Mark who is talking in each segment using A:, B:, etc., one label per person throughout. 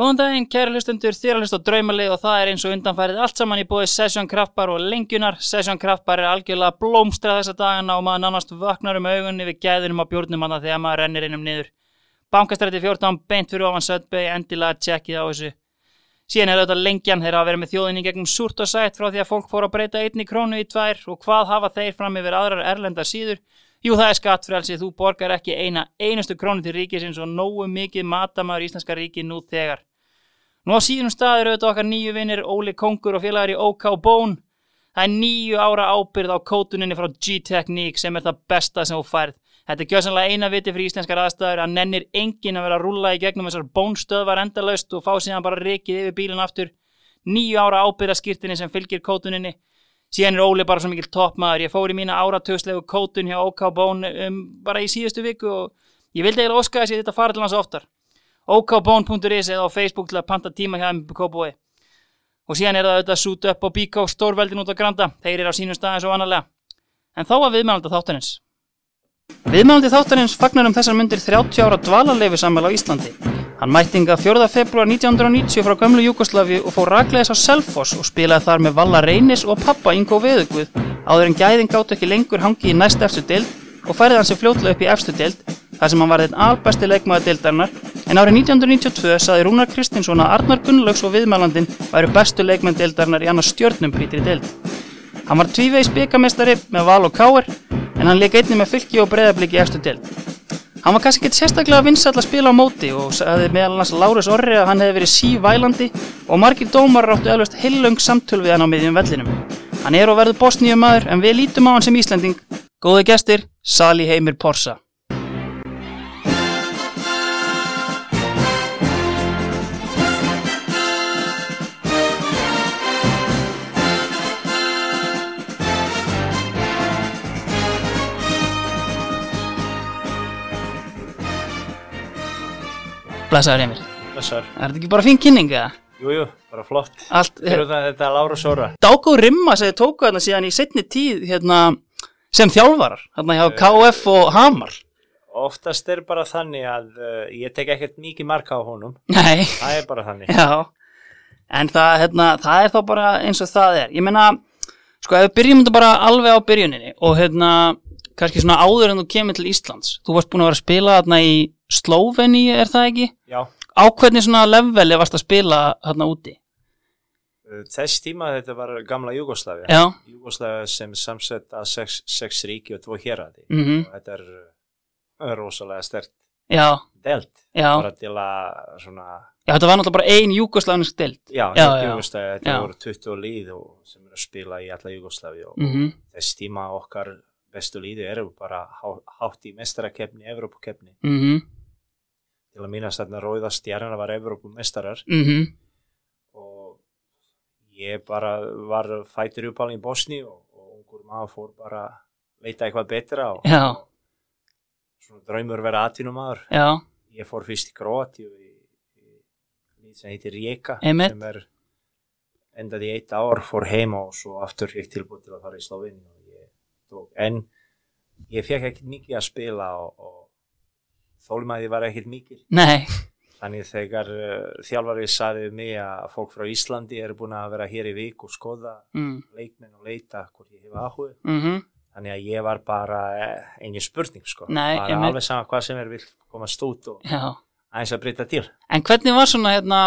A: Góðan daginn, kæri hlustendur, þér að hlusta á draumalið og það er eins og undanfærið allt saman í bóði Session Kraftbar og lengjunar. Session Kraftbar er algjörlega blómstra þessa dagana og maður nánast vaknar um augunni við gæðunum á bjórnum annað þegar maður rennir innum niður. Bankastræti 14, beint fyrir ofan Sötbegi, endilega tjekkið á þessu. Síðan er auðvitað lengjan þeirra að vera með þjóðinni gegnum súrt og sætt frá því að fólk fór að breyta einni krónu í tvær og hvað hafa þeir fram yfir aðrar erlendar síður Jú, það er skattfrelsi, þú borgar ekki eina einustu krónu til ríkisins og nógu mikið matamæður í Íslandska ríki nú þegar. Nú á síðum staður auðvitað okkar nýju vinnir Óli Kongur og félagar í OK Bón. Það er nýju ára ábyrð á kótuninni frá G-Technique sem er það besta sem þú færð. Þetta er gjössanlega eina viti fyrir íslenskar aðstæður að nennir enginn að vera að rúlla í gegnum þessar bónstöðvar endalaust og fá síðan bara rikið yfir bílinn aftur. Nýju ára ábyrðaskýrtinni sem fylgir kótuninni. Síðan er Óli bara svo mikil toppmaður. Ég fór í mína áratugslegu kótun hjá OK Bón um, bara í síðustu viku og ég vildi eiginlega óska þess að ég þetta fara til hans oftar. okbón.is eða á Facebook til að panta tíma hjá þeim kópúi. Og síðan er það auðvitað sút upp á Bíkó stórveldin út á Granda. Þeir eru á sínum staðins og annarlega. En þá var viðmælandi þáttanins. Viðmælandi þáttanins fagnar um þessar myndir 30 ára dvalarleifu á Íslandi. Hann mættinga 4. februar 1990 frá gömlu Júkoslavi og fór rakleis á Selfoss og spilaði þar með Valla Reynis og pappa Ingo Veðugvud áður en gæðin gátt ekki lengur hangi í næst efstu deild og færði hann sér fljótlega upp í efstu deild þar sem hann var þeim albæsti leikmaði deildarnar en árið 1992 saði Rúnar Kristinsson að Arnar Gunnlaugs og viðmælandin væru bestu leikmenn deildarnar í annars stjörnum prítri deild. Hann var tvívegis byggamestari með Val og Káer en hann leik einni með fylki og breyðabliki í efstu deild. Hann var kannski ekkert sérstaklega vinsall að spila á móti og sagði meðal hans Lárus Orri að hann hefði verið sívælandi og margir dómar ráttu eflaust heilung samtöl við hann á miðjum vellinum. Hann er og verður bosníu maður en við lítum á hann sem Íslanding. Góði gestir, Sali Heimir Porsa. Blessaður Heimir.
B: Þessar,
A: Er þetta ekki bara fín kynning eða?
B: jú, jú, bara flott.
A: Allt,
B: Fyrir það þetta er Lára Sóra.
A: dágóð rimma sem þið tóku þarna síðan í setni tíð hérna, sem þjálfarar, hérna hjá KF og Hamar.
B: Oftast er bara þannig að uh, ég tek ekkert mikið marka á honum.
A: Nei.
B: Það er bara þannig.
A: Já, en það, hérna, það er þá bara eins og það er. Ég meina, sko, ef við byrjum þetta bara alveg á byrjuninni og hérna, kannski svona áður en þú kemur til Íslands. Þú varst búin að vera að spila þarna í Sloveni, er það ekki?
B: Já,
A: Á hvernig svona leveli varst að spila þarna úti?
B: uh, þess tíma þetta var gamla Júgoslavia.
A: Já,
B: Júgoslavia sem samsett að sex, sex ríki og tvo héradi.
A: mhm,
B: Og þetta er uh, rosalega stert
A: já,
B: delt.
A: já.
B: Bara til að svona,
A: Já, þetta var náttúrulega bara ein júkoslanisk deild.
B: já,
A: Já,
B: þetta
A: já.
B: Júgoslavia,
A: Já.
B: þetta voru 20 líð og, sem eru að spila í alla Júgoslavia og
A: Mhm,
B: þess tíma okkar bestu líði eru bara há- hátt í mestarakefni, Evrópukefni.
A: mhm,
B: Til að mínast þarna Róða Stjarnar var Evrópumestarar
A: mhm,
B: og ég bara var fættur uppalinn í Bosni og, og ungur maður fór bara að leita eitthvað betra og
A: Já.
B: svona draumur vera atvinnumadur.
A: já,
B: Ég fór fyrst í Kroatíu í, í, í sem heitir Rijeka
A: Einmitt.
B: sem er endaði í eitt ár, fór heima og svo aftur ég tilbúið til að fara í Sloveni og ég tók, en ég fekk ekkert mikið að spila og, og þólmaði var ekkert mikið
A: nei,
B: þannig þegar uh, þjálfarið saði við mig að fólk frá Íslandi eru búin að vera hér í vik og skoða
A: mhm,
B: leikmenn og leita hvort ég hef áhug
A: mhm,
B: þannig að ég var bara eh, engin spurning sko,
A: Nei,
B: bara
A: einmitt.
B: alveg sama hvað sem er vill komast út og
A: já.
B: aðeins að breyta til
A: En hvernig var svona, hérna,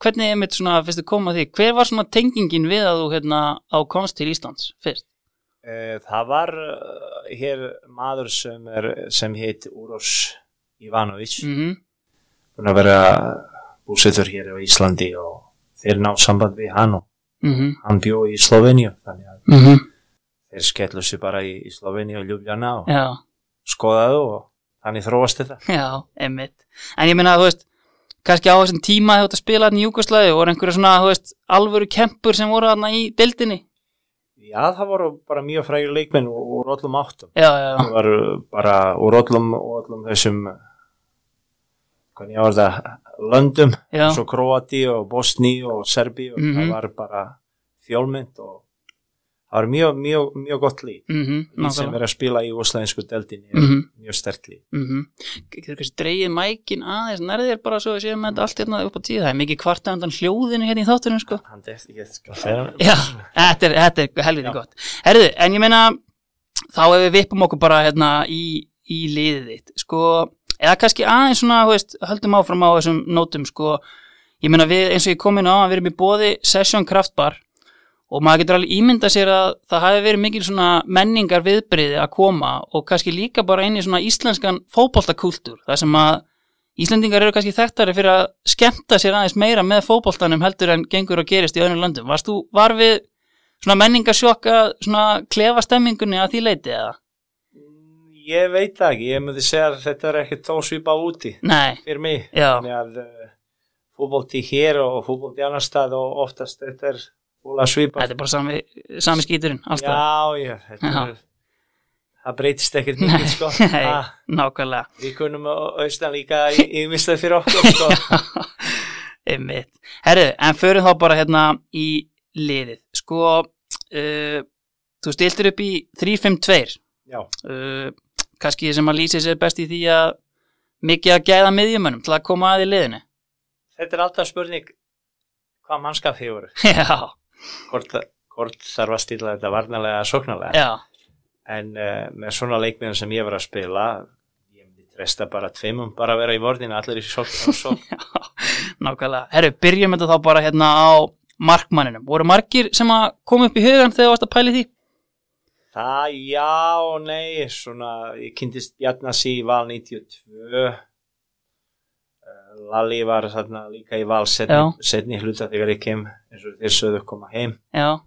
A: hvernig einmitt svona, fyrstu koma að því, hver var svona tengingin við að þú, hérna, á komst til Íslands fyrst?
B: Eh, Það var eh, hér maður sem, er, sem heit Úros Ivanovic mm.
A: Mm
B: búin að vera búsettur hér á Íslandi og þeir ná samband við hann og
A: -hmm.
B: hann bjó í Sloveníu þannig að
A: Mm -hmm.
B: þeir skellu sér bara í, í Sloveníu og Ljubljana og
A: Já,
B: skoðaðu og þannig þróast þetta
A: já, einmitt. En ég meina, þú veist, kannski á þessum tíma þegar þú ert að spila þarna í Júkoslavi, voru einhverju svona, þú veist, alvöru kempur sem voru þarna í deildinni?
B: Já, það voru bara mjög frægir leikmenn úr úr öllum áttum
A: Já, já, já.
B: það var bara úr öllum, úr öllum þessum hvernig ég var það löndum
A: Já,
B: svo Kroati og Bosni og Serbi og
A: Mhm.
B: það var bara fjólmynd og það var mjög, mjög, mjög gott líf
A: mm
B: líf sem
A: nákvæmlega
B: er að spila í úslæðinsku deldin er
A: Mhm.
B: mjög sterkt líf
A: mm getur kannski dreigið mækin aðeins nærðir bara svo við séum þetta allt hérna upp á tíu það er mikið kvarta undan hljóðinu hérna í þáttunum sko
B: hann deft ekki að segja
A: já, þetta er, þetta er helviti
B: Já.
A: gott herðu, en ég meina þá ef við vippum okkur bara hérna í, í liðið þitt, sko eða kannski aðeins svona, þú veist, höldum áfram á þessum nótum, sko ég meina við, eins og ég kom inn á, við erum í bóði Session Kraftbar og maður getur alveg ímyndað sér að það hafi verið mikil svona menningar viðbriði að koma og kannski líka bara inn í svona íslenskan fótboltakúltúr, þar sem að Íslendingar eru kannski þekktari fyrir að skemmta sér aðeins meira með fótboltanum heldur en gengur og gerist í öðrum löndum. Varst þú, var við svona menningasjokka, svona klefa stemmingunni að því leiti eða?
B: Mm, ég veit það ekki, ég myndi segja að þetta er ekkert þó svipað úti
A: Nei,
B: fyrir mig
A: já,
B: þannig að uh, fútbolti hér og fútbolti annar stað og oftast þetta er fúla svipa
A: þetta er bara sami, sami skíturinn, alltaf.
B: já, já, þetta
A: Já.
B: er það breytist ekkert
A: Nei,
B: mikið sko
A: nei.
B: Ah,
A: Nákvæmlega,
B: við kunum austan líka í, í mistað fyrir okkur sko
A: einmitt. Herru, en förum þá bara hérna í liðið. Sko, uh, þú stiltir upp í 3-5-2.
B: já,
A: uh, kannski sem að lýsa sér best í því að mikið að gæða miðjumönnum til að koma að í liðinu
B: þetta er alltaf spurning hvað mannskap hefur
A: já,
B: hvort, hvort þarf að stila þetta varnalega eða sóknalega
A: já,
B: en uh, með svona leikmiðum sem ég var að spila ég myndi treysta bara tveimum bara að vera í vorninu allir í sókn og sókn
A: nákvæmlega herru, byrjum þetta þá bara hérna á markmanninum, voru margir sem að koma upp í hugan þegar þú varst að pæli því
B: það já og nei svona ég kynntist Jarnasi í val 92 uh, Eh, Lalli var þarna líka í val
A: Já.
B: setni, setni hluta þegar ég kem eins og þeir sögðu koma heim
A: já,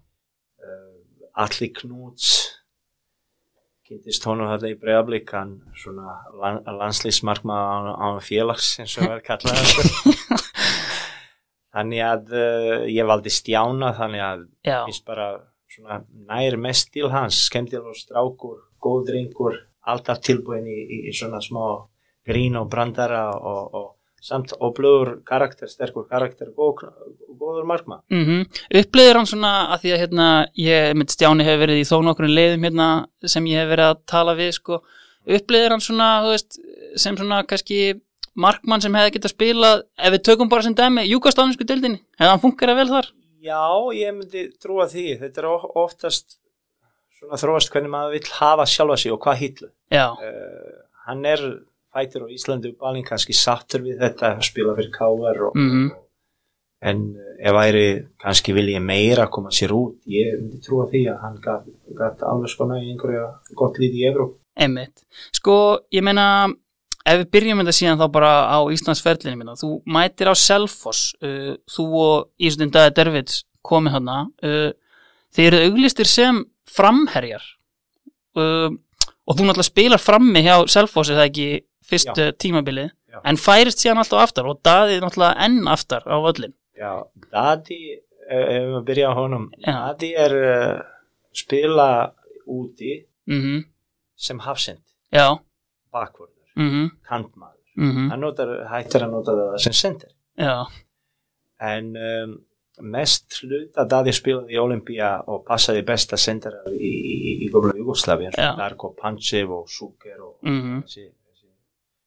B: Alli Knúts kynntist honum þetta í bregðablík hann svona lan, landslýsmarkma án, án félags eins og verður kallað sko. þannig að uh, ég valdi Stjána þannig að
A: já,
B: finnst bara svona nær mest til hans skemmtilegur strákur, góð drengur alltaf tilbúin í, í, í svona smá grín og brandara og, og samt oblöður karakter, sterkur karakter, góð, góður markma
A: mhm upplýður hann svona að því að hérna ég, mitt Stjáni hefur verið í þó nokkrum leiðum hérna sem ég hef verið að tala við sko, upplýður hann svona þú veist, sem svona kannski markmann sem hefði getað spilað ef við tökum bara sem dæmi, júkastanisku dildinni hefði hann fungerað vel þar
B: Já, ég myndi trúa því. Þetta er of- oftast svona þróast hvernig maður vill hafa sjálfa sig og hvað hýtlu.
A: já,
B: Uh, hann er fætur á Íslandi og balinn kannski sattur við þetta, spila fyrir káver og,
A: Mhm.
B: og en eh, ef væri kannski vilji meira koma sér út, ég myndi trúa því að hann gat, gat alveg skona í einhverja gott lið í Evró.
A: Einmitt. Sko, ég meina, ef við byrjum þetta síðan þá bara á Íslandsferlinu minna, þú mætir á Selfoss, uh, þú og Íslandin Dæði Dervits komið hana, uh, þeir eru auglistir sem framherjar uh, og þú náttúrulega spilar frammi hjá Selfoss er það ekki fyrst Já. tímabilið,
B: Já.
A: en færist síðan alltaf aftar og Dæði náttúrulega enn aftar á völlin.
B: Já, Dadi, eh, ef við byrja á honum,
A: Já.
B: Dadi er uh, spila úti
A: Mm
B: sem hafsend,
A: Já,
B: bakvörður,
A: mm -hmm.
B: kantmaður.
A: Mhm.
B: hann notar, hættir að nota það sem sendir
A: Já,
B: en um, mest hlut að Dadi spilaði í Olympia og passaði besta sendir í, í, í Gómla Jugoslavia eins
A: Já.
B: og Darko Pancev og Suker og
A: Mhm.
B: þessi, þessi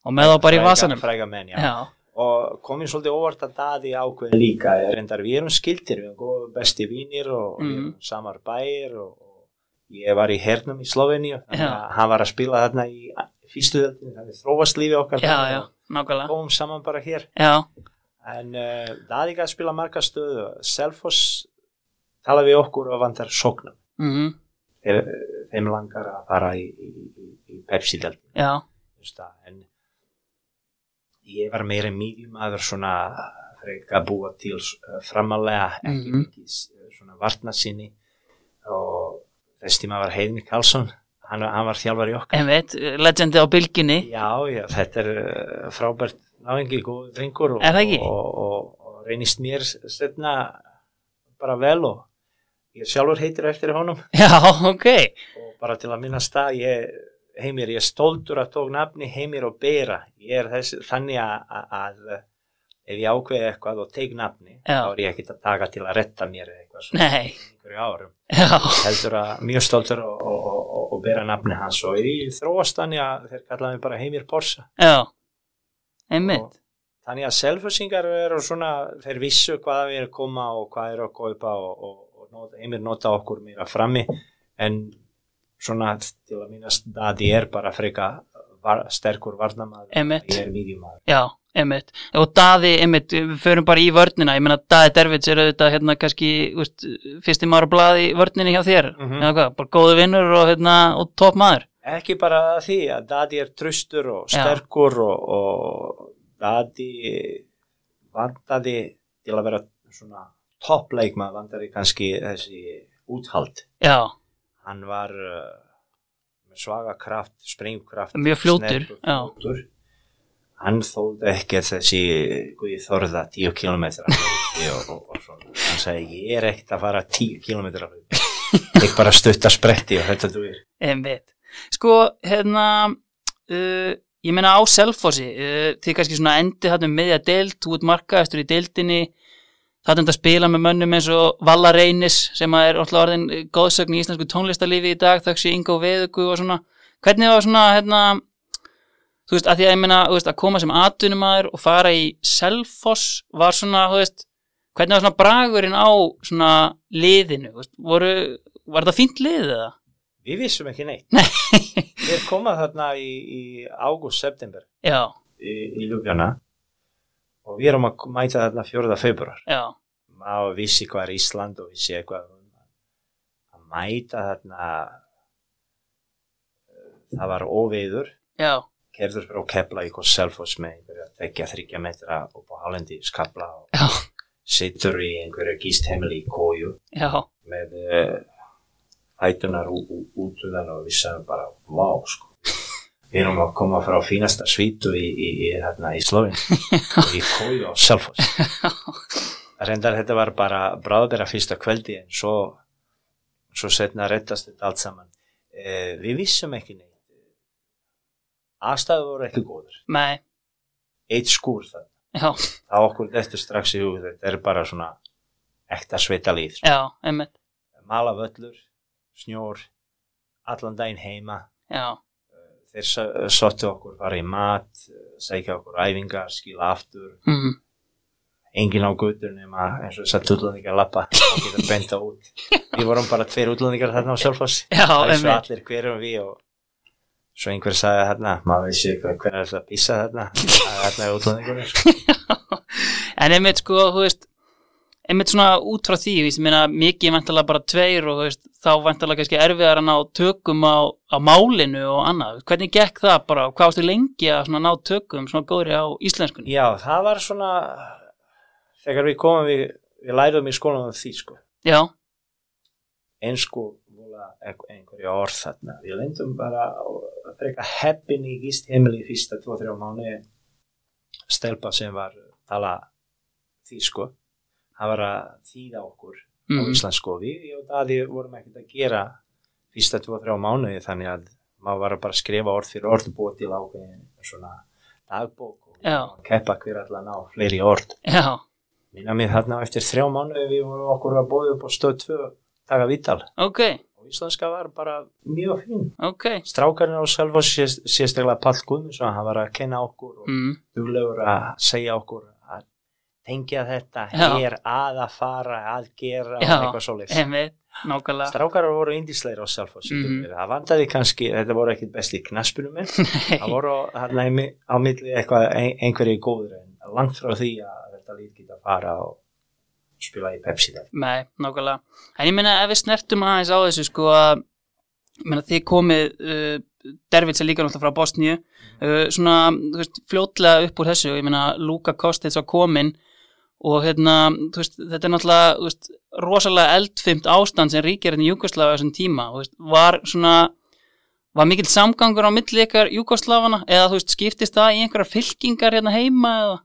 A: og með þá bara í
B: fræga-
A: vasanum.
B: fræga menn, já.
A: Já,
B: og komið svolítið óvart að Dadi ákveði líka eh, reyndar við erum skildir, við erum góð besti vínir og við
A: Mhm.
B: erum samar bæir og, og ég var í hernum í Sloveníu þannig
A: Já.
B: að hann var að spila þarna í fyrstu þöldinu, þannig að þróast lífi okkar
A: já,
B: þarna
A: já,
B: og
A: nákvæmlega.
B: komum saman bara hér
A: Já,
B: En uh, Daði gæði spila marga stöðu. Selfoss tala við okkur og vantar sóknum.
A: mm
B: Þeir, þeim langar að fara í, í, í, í Pepsi-delt.
A: já,
B: En ég var meira mýðjum aður svona freka búa til eh, framalega, ekki
A: Mhm.
B: mikið s- svona varnasinni og þess tíma var Heimir Karlsson, hann, hann var þjálfar í okkar.
A: einmitt, legendi á bylginni.
B: Já, já, þetta er eh, frábært náðingi, góð drengur og,
A: Er það ekki?
B: og, og, og reynist mér setna bara vel og ég sjálfur heitir eftir honum
A: Já, ok.
B: og bara til að minnast það, ég, heimir, ég er stoltur að tók nafni heimir og bera, ég er þess, þannig að, að- að ef ég ákveði eitthvað og teik nafni
A: Já.
B: þá er ég ekkert að taka til að retta mér eða eitthvað svona
A: Nei,
B: í einhverju árum
A: já,
B: heldur að mjög stoltur og, og, og, og, og bera nafni hans og ég þróast þannig að þeir kallaði mig bara heimir Borsa
A: já, einmitt,
B: þannig að selfusingar eru svona þeir vissu hvað við erum að koma og hvað eru að kaupa og, og, og nota, einir nota okkur meira frammi en svona til að mínast að ég er bara freka var, sterkur varnamaður
A: Einmitt.
B: ég er miðjumaður
A: já, einmitt og Daði, einmitt, við förum bara í vörnina ég meina Daði Dervits er auðvitað hérna kannski úst, fyrsti maður að blaði í vörninni hjá þér,
B: Mhm.
A: eða hvað, bara góðu vinnur og, hérna, og topp maður,
B: ekki bara því að Dadi er tröstur og
A: Já.
B: sterkur og, og Dadi vantaði til að vera svona toppleikma vantaði kannski þessi úthald
A: já,
B: hann var uh, með svaga kraft, springkraft
A: Mjög fljótur,
B: snerpur,
A: já.
B: fljótur. hann þóldi ekki þessi guði þorða 10 km og, og, og svona hann sagði ég er ekkert að fara 10 km ekki bara stutta spretti og þetta þú er
A: einmitt sko, hérna uh, ég meina á Selfossi uh, þið kannski svona endi þarna um miðja deild þú ert markaðastur í deildinni þarna ertu að spila með mönnum eins og Valla Reynis sem að er alltaf orðin eh, góðsögn í íslensku tónlistarlífi í dag þöggs í Ingo Veðugu og svona hvernig var svona, hérna þú veist, að því að ég meina, þú veist, að koma sem atvinnumæður og fara í Selfoss var svona, þú veist, hvernig var svona bragurinn á svona liðinu, þú veist, voru var það fínt liðið eða?
B: Við vissum ekki neitt.
A: Nei.
B: Við komað þarna í, í ágúst, september
A: Já,
B: í, í Ljubjana og við erum að mæta þarna 4. februar.
A: já,
B: Maður vissi hvað er Ísland og vissi eitthvað. um Að mæta þarna, eh, það var óveður,
A: já,
B: kerður frá kepla í hvað selfos með einhverja tveggja, þryggja metra og på halendi skabla og
A: já,
B: situr í einhverja gíst heimili í kóju
A: já,
B: með eh, hætunar ú- ú- út undan og við sagðum bara vá sko við erum að koma frá fínasta svítu í, í, í, hérna, í Slovin og í kóðu á Selfoss reyndar þetta var bara bráðbera fyrsta kvöldi en svo svo setna rettast þetta allt saman eh, við vissum ekki neitt aðstæður voru ekki góður
A: nei,
B: eitt skúr það
A: já,
B: það okkur þetta strax í hug þetta er bara svona ekta sveita líf sko
A: já, einmitt,
B: mala völlur, snjór, allan daginn heima.
A: já,
B: Þeir s- sóttu okkur bara í mat, sækja okkur æfingar, skila aftur.
A: mm,
B: Engin á guttur nema eins og þess að útlendingar lappa og geta benta út. Við vorum bara tveir útlendingar þarna á Selfoss.
A: já,
B: Það er svo
A: einmitt,
B: allir hverjum við og svo einhver sagði þarna, maður vissi eitthvað hvernig er það að pissa þarna. Það er Þarna sko. er útlendingur.
A: en einmitt sko, þú veist, einmitt svona út frá því, þú veist, ég meina mikið vantalega bara tveir og þú veist, þá vantalega kannski erfiðar að ná tökum á, á málinu og annað, hvernig gekk það bara, hvað varstu lengi að svona ná tökum svona góðri á íslenskunni?
B: Já, það var svona, þegar við komum við, við lærum í skólanum því sko.
A: Já,
B: einsku múla einhverja orð þarna. Við lendum bara að freka heppin í gist heimili í fyrsta 2-3 mánu stelpa sem var að tala þýsku. Það var að þýða okkur á
A: mm,
B: íslensku og við og Daði vorum ekkert að gera fyrsta 2-3 mánu þannig að maður var að bara skrifa orð fyrir orð búið til ákveðin svona dagbók og
A: Já.
B: keppa hver allan á fleiri orð.
A: já,
B: Minna mig þarna á eftir 3 mánu við vorum okkur að bóða upp á stöð 2 taka vital
A: ok,
B: og íslenska var bara mjög fín
A: ok,
B: strákarinn á sjálfa sést- sérstaklega Pall Guðmundsson, hann var að kenna okkur og
A: mm,
B: duglegur að segja okkur að tengja þetta
A: Já.
B: hér að að fara, að gera
A: Já,
B: og eitthvað svoleiðis.
A: einmitt, nákvæmlega,
B: Strákarar voru indisleir á sjálfa
A: Mhm.
B: það vandaði kannski, þetta voru ekkit best í knaspunum minn, það voru hann á milli eitthvað ein, einhverju góður en langt frá því að þetta lít geta fara og spila í Pepsi það.
A: Nei, nákvæmlega. En ég meina ef við snertum aðeins á þessu sko að ég meina, þið komið uh, Dervits er líka náttúrulega frá Bosníu uh, svona þú veist, fljótlega upp úr þessu ég meina Luka Kostits var komin og hérna, þú veist, þetta er náttúrulega þú veist, rosalega eldfimt ástand sem ríkir hérna í Júkoslava þessum tíma þú veist, var svona var mikill samgangur á milli ykkar Júkoslavana eða þú veist, skiptist það í einhverjar fylkingar hérna heima eða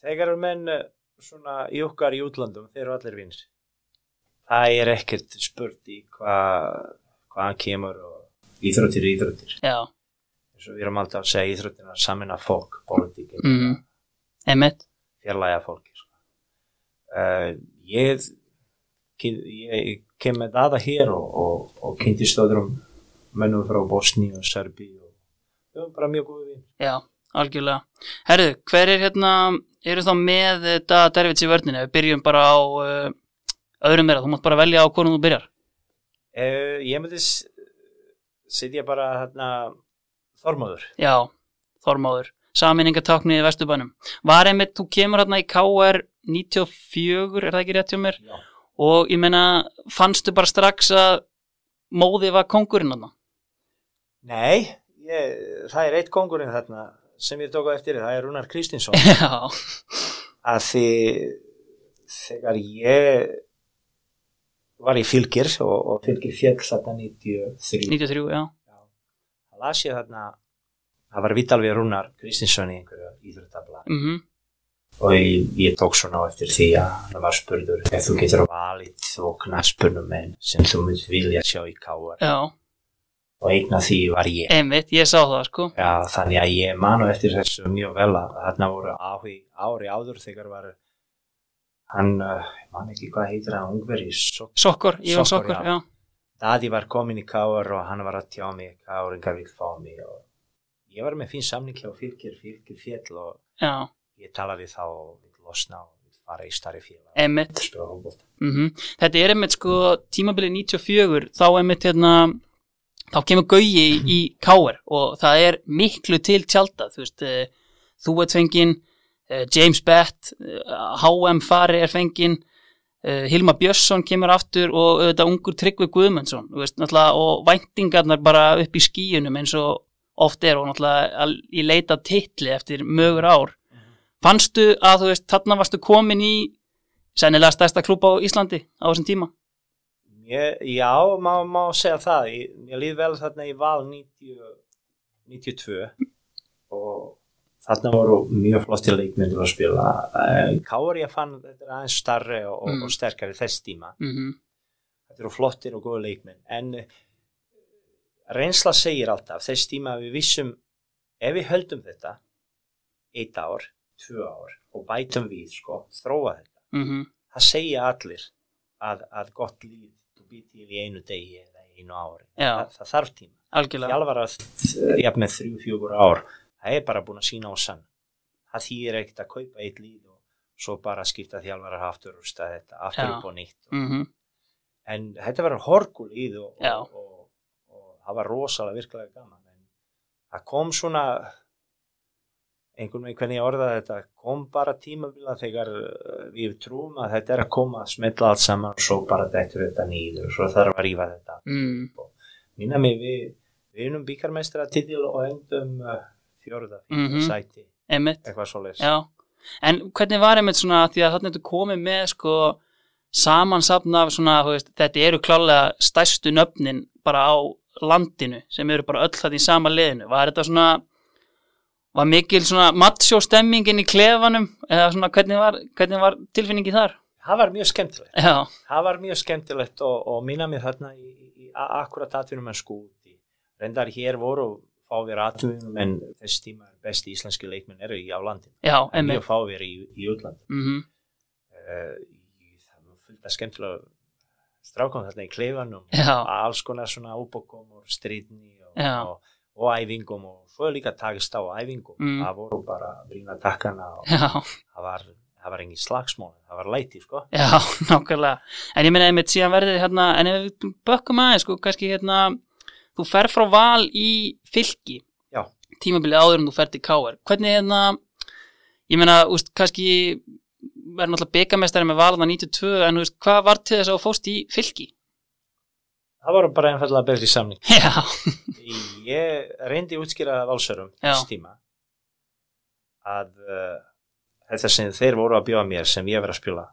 B: þegar menn eh, svona júkkar í útlandum, þeir eru allir vinnir það er ekkert spurt í hvað hvaðan kemur og íþróttir, íþróttir
A: Já,
B: eins og við erum alltaf að segja íþróttina samin að fólk, politík
A: mm, einmitt,
B: fjarlæga fólki sko. uh, ég, ég kem með aða hér og, og, og kynntist öðrum mönnum frá Bosni og Serbi og það var bara mjög góð vinn
A: já, algjörlega Herðu, hver er hérna, eru þá með þetta Dervits í vörninu, við byrjum bara á uh, öðrum meira, þú mátt bara velja á hvernig þú byrjar,
B: uh, ég myndi s- setja bara hérna Þormóður
A: já Þormáður, saminningatáknið í Vesturbænum Var einmitt, þú kemur hérna í KR 94, er það ekki rétt hjá mér
B: Já.
A: og ég meina fannstu bara strax að móði var kongurinn hérna,
B: Nei, ég, það er eitt kongurinn þarna sem ég tók á eftir, það er Rúnar Kristinsson
A: já
B: að því þegar ég var í fylgir og, og fylgir fjöll þarna 93
A: 93, já,
B: það las ég þarna það var vital við Rúnar Kristinsson í einhverju íþróttabla
A: mhm
B: og ég, ég tók svona á eftir því að það var spurður ef þú getur valið og knaspunum menn sem þú mynd vilja sjá í káar
A: Já,
B: og einn af því var ég
A: einmitt, ég sá það sko
B: Já, þannig að ég manu eftir þessu mjög vel að þarna voru áhugi, ári áður þegar var hann, uh, ég man ekki hvað heitir hann, ungveri, Sok
A: Sokkor, ég var
B: Sokkor,
A: sokkor,
B: já.
A: já
B: Dadi var komin í Káar og hann var að tjá mig, Káringar vil fá mig og ég var með fín samning hjá fylgir, fylgir fjell og
A: Já,
B: ég talaði þá og við losna og við fara í starri félag
A: einmitt
B: spila hófbólta.
A: mm Þetta er einmitt sko tímabilið 94 þá einmitt hérna þá kemur gauji í, í káir og það er miklu til tjálta þú veist, eh, þú ert fengin eh, James Bett eh, HM Fari er fengin eh, Hilma Björnsson kemur aftur og auðvitað ungur Tryggvi Guðmundsson þú veist, náttúrulega, og væntingarnar bara upp í skíunum eins og oft er og náttúrulega að- í leita titli eftir mögur ár fannstu að þú veist, þarna varstu komin í sennilega stærsta klúb á Íslandi á þessum tíma
B: Ég, já, má, má segja það, ég, ég líð vel þarna í val 90, 92 og þarna voru mjög flotti leikmyndur að spila. Eh, Káar ég fann þetta er aðeins starri og,
A: Mm.
B: og sterkari þess tíma.
A: mm -hmm.
B: þetta eru flottir og góða leikmenn en eh, reynsla segir alltaf þess tíma að við vissum ef við höldum þetta eitt ár, tvö ár og bætum við sko, þróa þetta það segja allir að, að gott líf þú býr til í einu degi eða í einu ári
A: Já.
B: það, það þarf tíma
A: algjörlega
B: þjálfara eh, jafn með þrjú, fjögur ár það er bara búin að sína á sann það þýðir ekkert að kaupa eitt líf og svo bara skipta þjálfara aftur og stað þetta, aftur
A: Já.
B: upp og nýtt
A: mm
B: en þetta var horkul í því og,
A: Já.
B: og, og, og það var rosalega virkilega gaman en það kom svona einhvern veginn hvernig ég orðaði þetta kom bara tímabila þegar uh, við trúum að þetta er að koma að smetla allt saman og svo bara dættur þetta nýður og svo þarf að rífa þetta
A: mm.
B: minna mig við við unum bíkarmeistra titil og endum uh, fjörða, fjörða
A: Mhm.
B: sæti
A: einmitt,
B: eitthvað svo leys
A: já en hvernig var einmitt svona því að þarna ertu komið með sko samansapna af svona þú veist, þetta eru klálega stærstu nöfnin bara á landinu sem eru bara öll það í sama liðinu var þetta svona var mikil svona matsjó stemmingin í klefanum eða svona hvernig var, hvernig var tilfinningi þar
B: það var mjög skemmtilegt
A: já,
B: það var mjög skemmtilegt og, og minna mig þarna í, í, í akkurat atvinnum en skúti reyndar hér voru fáir atvinnum en þess tíma besti íslenski leikmenn eru í á landin
A: já,
B: en
A: einmitt
B: mjög fáir í, í útland
A: mm
B: uh, það var fullt að skemmtilega strákum þarna í kleifanum
A: já,
B: að alls konar svona úpokom og stríðni og,
A: Já.
B: og, og æfingum og svo líka takist á æfingum
A: Mm.
B: það voru bara brína takkana og
A: já
B: það var, það var engin slagsmál það var læti sko
A: Já, nákvæmlega. En ég meina einmitt síðan verðið hérna, en ef við bökkum aðeins, sko, kannski hérna, þú fer frá val í fylki,
B: Já.
A: tímabilið áður en þú fer til K.R. Hvernig hérna, ég meina, úst, kannski verður náttúrulega byggamestari með valana 92, en úst, hvað var til þess að þú fóst í fylki?
B: það voru bara einfallega betri samning
A: Já,
B: ég reyndi útskýra valsörum
A: Já.
B: þess tíma að uh, þetta sem þeir voru að bjóða mér sem ég verið að spila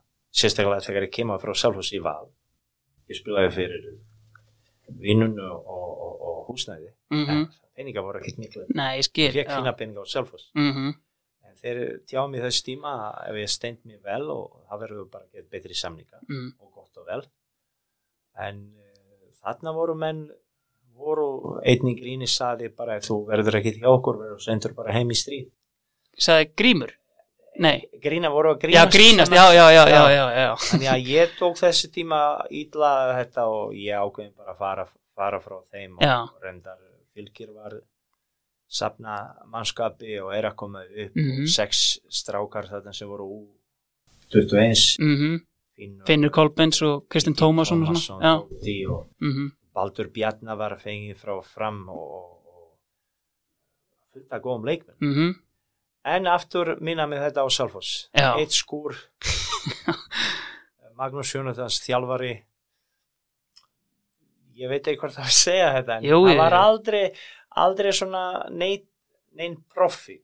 B: sérstaklega þegar ég kemur frá Salfors í Val ég spilaði fyrir vinnun og, og, og, og húsnæði
A: mhm,
B: en peninga voru ekkert miklu
A: nei, ég
B: ég
A: skil.
B: fekk
A: já.
B: fína peninga á Salfors
A: Mhm,
B: en þeir tjáðu mér þess tíma að ef ég stend mér vel og það verður bara að geta betri samninga
A: mm,
B: og gott og vel en uh, þarna voru menn voru einnig gríni saði bara ef þú verður ekki hjá okkur verður sendur bara heim í stríð
A: Sagði Grímur? Nei,
B: grína voru að
A: já
B: grínast
A: grínast, já,
B: svona.
A: já, já, já, já, já.
B: þannig að ég tók þessi tíma ítla þetta og ég ákveðin bara að fara, fara frá þeim og
A: Já.
B: reyndar fylgir var safna mannskapi og er að koma upp
A: Mhm.
B: sex strákar þarna sem voru ú 21
A: Mm
B: Finnur,
A: Finnur Kolbens og Kristinn Tómasson og
B: Tómasson
A: svona, já,
B: Doddi og
A: mhm,
B: Baldur Bjarnar var fengið frá fram og, og, og fullt að góðum leikmenn
A: mhm,
B: En aftur minna með þetta á Salfoss.
A: Já.
B: Eitt skúr. Magnús Jónathans, þjálfari. Ég veit ekki hvort það var að segja þetta. en
A: Jú, jú,
B: það var
A: jú.
B: aldrei, aldrei svona neinn nein profi.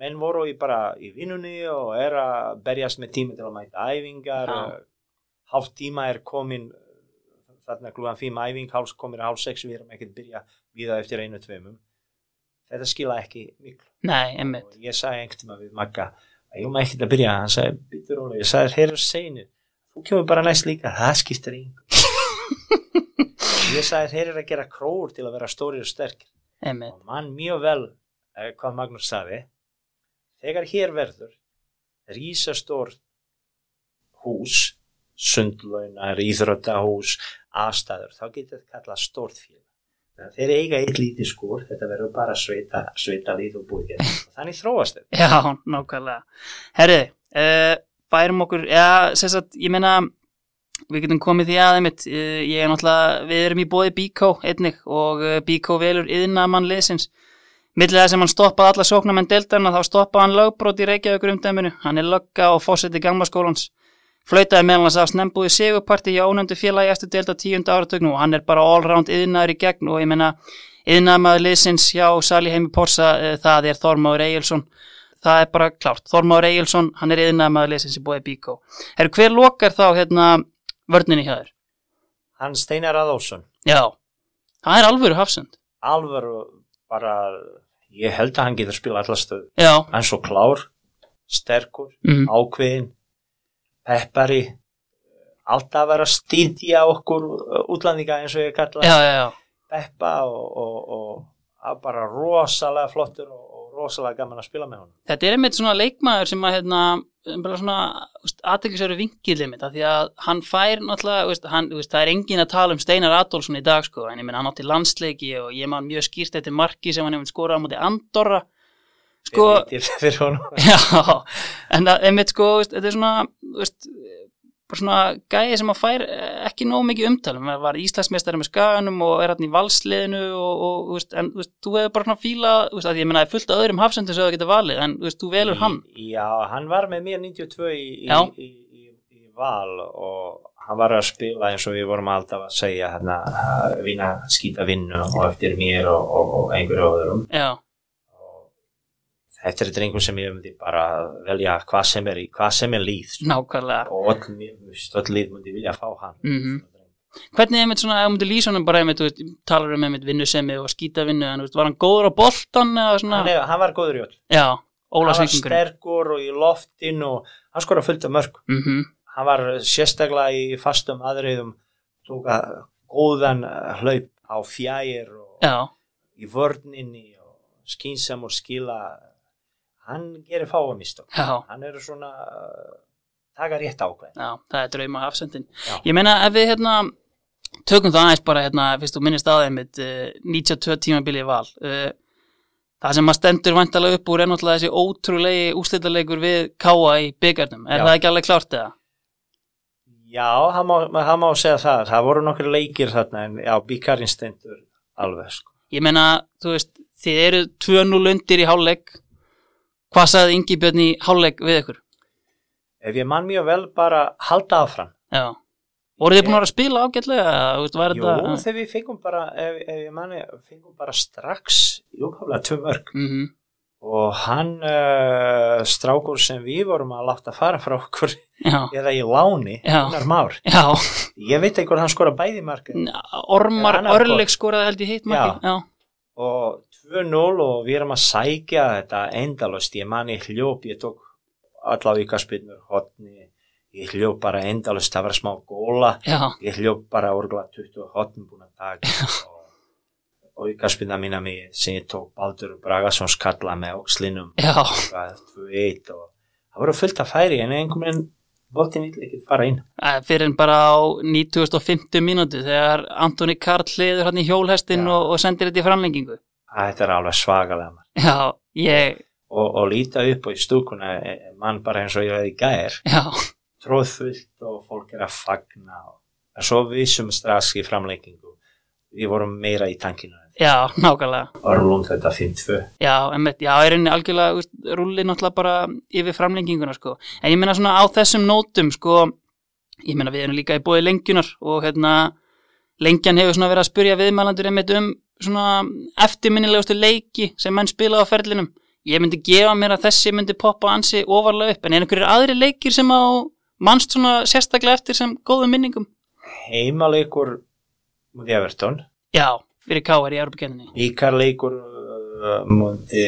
B: Menn voru í bara í vinnunni og er að berjast með tíma til að mæta æfingar.
A: Já.
B: Hálf tíma er komin, þarna klúðan fimm æfing, hálf komin hálf sex, við erum ekkert byrja við það eftir einu tveimum. Þetta skila ekki miklu
A: nei, emmitt,
B: og ég sagði einhvern tíma við Magga að ég má ekkert að byrja, hann sagði bitur rólega, ég sagði þeir eru seinir þú kemur bara næst líka, það skiptir einhver ég sagði þeir eru að gera króur til að vera stórir og sterkir
A: emmitt,
B: og mann mjög vel eh, hvað Magnús sagði þegar hér verður rísastór hús sundlaunar, íþróttahús afstæður, þá getur þetta kallað stórt félag Þannig að þeir eiga eitt lítið skór þetta verður bara sveita, sveita líð og búið hérna. Og þannig þróast þetta
A: já, nákvæmlega. Herri, uh, bærum okkur, já, sem sagt, ég meina, við getum komið því að, emmitt, uh, ég er náttúrulega, við erum í bóði Bíkó einnig og uh, Bíkó velur yðnamann liðsins. Millið það sem hann stoppaði alla sóknarmenn deildarna, þá stoppaði hann lögbrót í Reykjavíkur umdæminu, hann er lögga og fórseti gangmaskólans. Flautaði meðal hans af snembúi sigurparti hjá ónefndu félagi eftir deilda tíundu áratögnu og hann er bara allround yðnaður í gegn og ég meina yðnaðmaður liðsins hjá Sali Heimi Porsa, eh, það er Þormáður Egilson. Það er bara klárt, Þormáður Egilson, hann er yðnaðmaður liðsins í bóði Bíkó. Herru, hver lokar þá hérna vörninni hjá þér?
B: hann Steinar Aðósson
A: Já, það er alvöru hafsend.
B: alvöru bara ég held að hann getur spila allar stöð
A: Já,
B: hann er svo klár, sterkur
A: mm,
B: ákveðin, peppari alltaf að vera að stýndja okkur uh, útlendinga eins og ég kalla
A: já, já, já,
B: peppa og, og, og, og bara rosalega flottur og, og rosalega gaman að spila með honum
A: þetta er einmitt svona leikmaður sem að hérna, bara svona aðteklisveru vingilið mitt, af því að hann fær náttúrulega, þú veist, hann, þú veist, það er engin að tala um Steinar Adolfsson í dag sko, en ég minn hann átti landsleiki og ég man mjög skýrt eftir marki sem hann hefur skorað á móti Andorra sko,
B: Fyrir- fyrir, fyrir honum
A: Já, en það, einmitt sko, veist, þetta er svona, veist, bara svona gæði sem að fær eh, ekki nóg mikið umtalum, það var Íslandsmeistari með skaganum og er hann í valsliðinu og, og þú veist, en þú veist, þú hefur bara svona fíla, þú veist, að ég meina, það er fullt af öðrum hafsendur sem það geta valið, en þú veist, þú
B: Mm.
A: velur hann,
B: já, hann var með mér 92 í, í,
A: Já.
B: í, í, í val og hann var að spila eins og við vorum alltaf að segja hérna, að vinna, skýta vinnu og eftir mér og, og, og einhverju öðrum
A: já,
B: og þetta er drengur sem ég myndi bara velja hvað sem er, í- hvað sem er líð
A: Mm.
B: sko.
A: nákvæmlega.
B: og öll, mér finnst öll lið myndi vilja fá hann
A: Mhm. Hvernig einmitt svona, ef þú myndir lýsa honum bara einmitt, þú veist, talar um einmitt vinnusemi og skítavinnu, en þú veist, var hann góður á boltan eða svona,
B: hann, er, hann var góður í öll
A: já, Óla
B: hann var
A: Svengingur,
B: sterkur og í loftin og hann skora fullt af mörg
A: mhm,
B: hann var sérstaklega í fastum aðriðum tók að góðan eh, hlaup á fjær og
A: já,
B: í vörninni og skýnsam og skila hann gerir fáamist
A: já.
B: hann er svona eh, taka rétt ákveð
A: Já, það er drauma hafsendin.
B: Já.
A: Ég meina ef við hérna tökum það aðeins bara hérna, fyrst þú minnist aðeins mitt uh, 92 tímabilið val. Uh, það sem maður stendur vantalega upp úr er náttúrulega þessi ótrúlegi úslitaleikur við káa í byggarnum. Er
B: Já.
A: það ekki alveg klárt eða?
B: Já, hann má, hann má segja það. Það voru nokkur leikir þarna en já, bíkarinn stendur alveg sko.
A: Ég meina, þú veist, þið eru 2-0 undir í hálfleik. Hvað sagði Ingi Björn í hálfleik við ykkur?
B: Ef ég mann mjög vel bara halda áfram.
A: Já. Voruð þið
B: Ég-
A: búin að vera að spila ágætlega? eða, Þú veist, var
B: Jú,
A: þetta...
B: þegar við fengum bara, ef, ef ég manni, fengum bara strax í upphaflega tvö mörg.
A: Mm -hmm.
B: Og hann, uh, strákur sem við vorum að láta fara frá okkur,
A: Já.
B: eða í láni,
A: Já.
B: Gunnar Már.
A: Já.
B: Ég veit ekki hvort hann skora bæði markið.
A: Ormar
B: Eða annar hvort.
A: Örleik skoraði held ég hitt marki. Já.
B: Og 2-0 og við erum að sækja þetta endalust. Ég manni hljóp, ég tók alla aukarspinnur, hotni, ég hljóp bara endalust, það var smá góla.
A: Já.
B: ég hljóf bara orgla 20 hotn búin að taka og aukarspinna mína mig sem ég tók Baldur Bragassons kalla með ókslinum
A: Já,
B: hvað, 2-1 og það voru fullt að færi en einhvern veginn boltin vill ekki fara inn
A: Eh, Fyrir en bara á 9050 mínútu þegar Antoni Karl hliður hann í hjólhestin
B: Já.
A: og, og sendir þetta í framlengingu.
B: að þetta er alveg svagalega maður.
A: Já, ég,
B: og, og líta upp á í stúkuna eh, eh, mann bara eins og ég veið í gær
A: já,
B: tróðfullt og fólk er að fagna og en svo við sem strax í framleikingu við vorum meira í tankinu
A: já, nákvæmlega.
B: og rúlum um þetta 5-2
A: Já, emmitt, já, ég reyni algjörlega úst, rúli náttúrulega bara yfir framlenginguna, sko. En ég meina svona á þessum nótum, sko, ég meina við erum líka í bóði lengjunar og hérna, lengjan hefur svona verið að spurja viðmælandur einmitt um svona eftirminnilegustu leiki sem menn spila á ferlinum. Ég myndi gefa mér að þessi myndi poppa ansi ofarlega upp, en er einhverjir aðri leikir sem á mannst svona sérstaklega eftir sem góðum minningum?
B: heimaleikur múti Everton
A: Já, fyrir káar í Európa-kenninni.
B: bíkarleikur uh, múti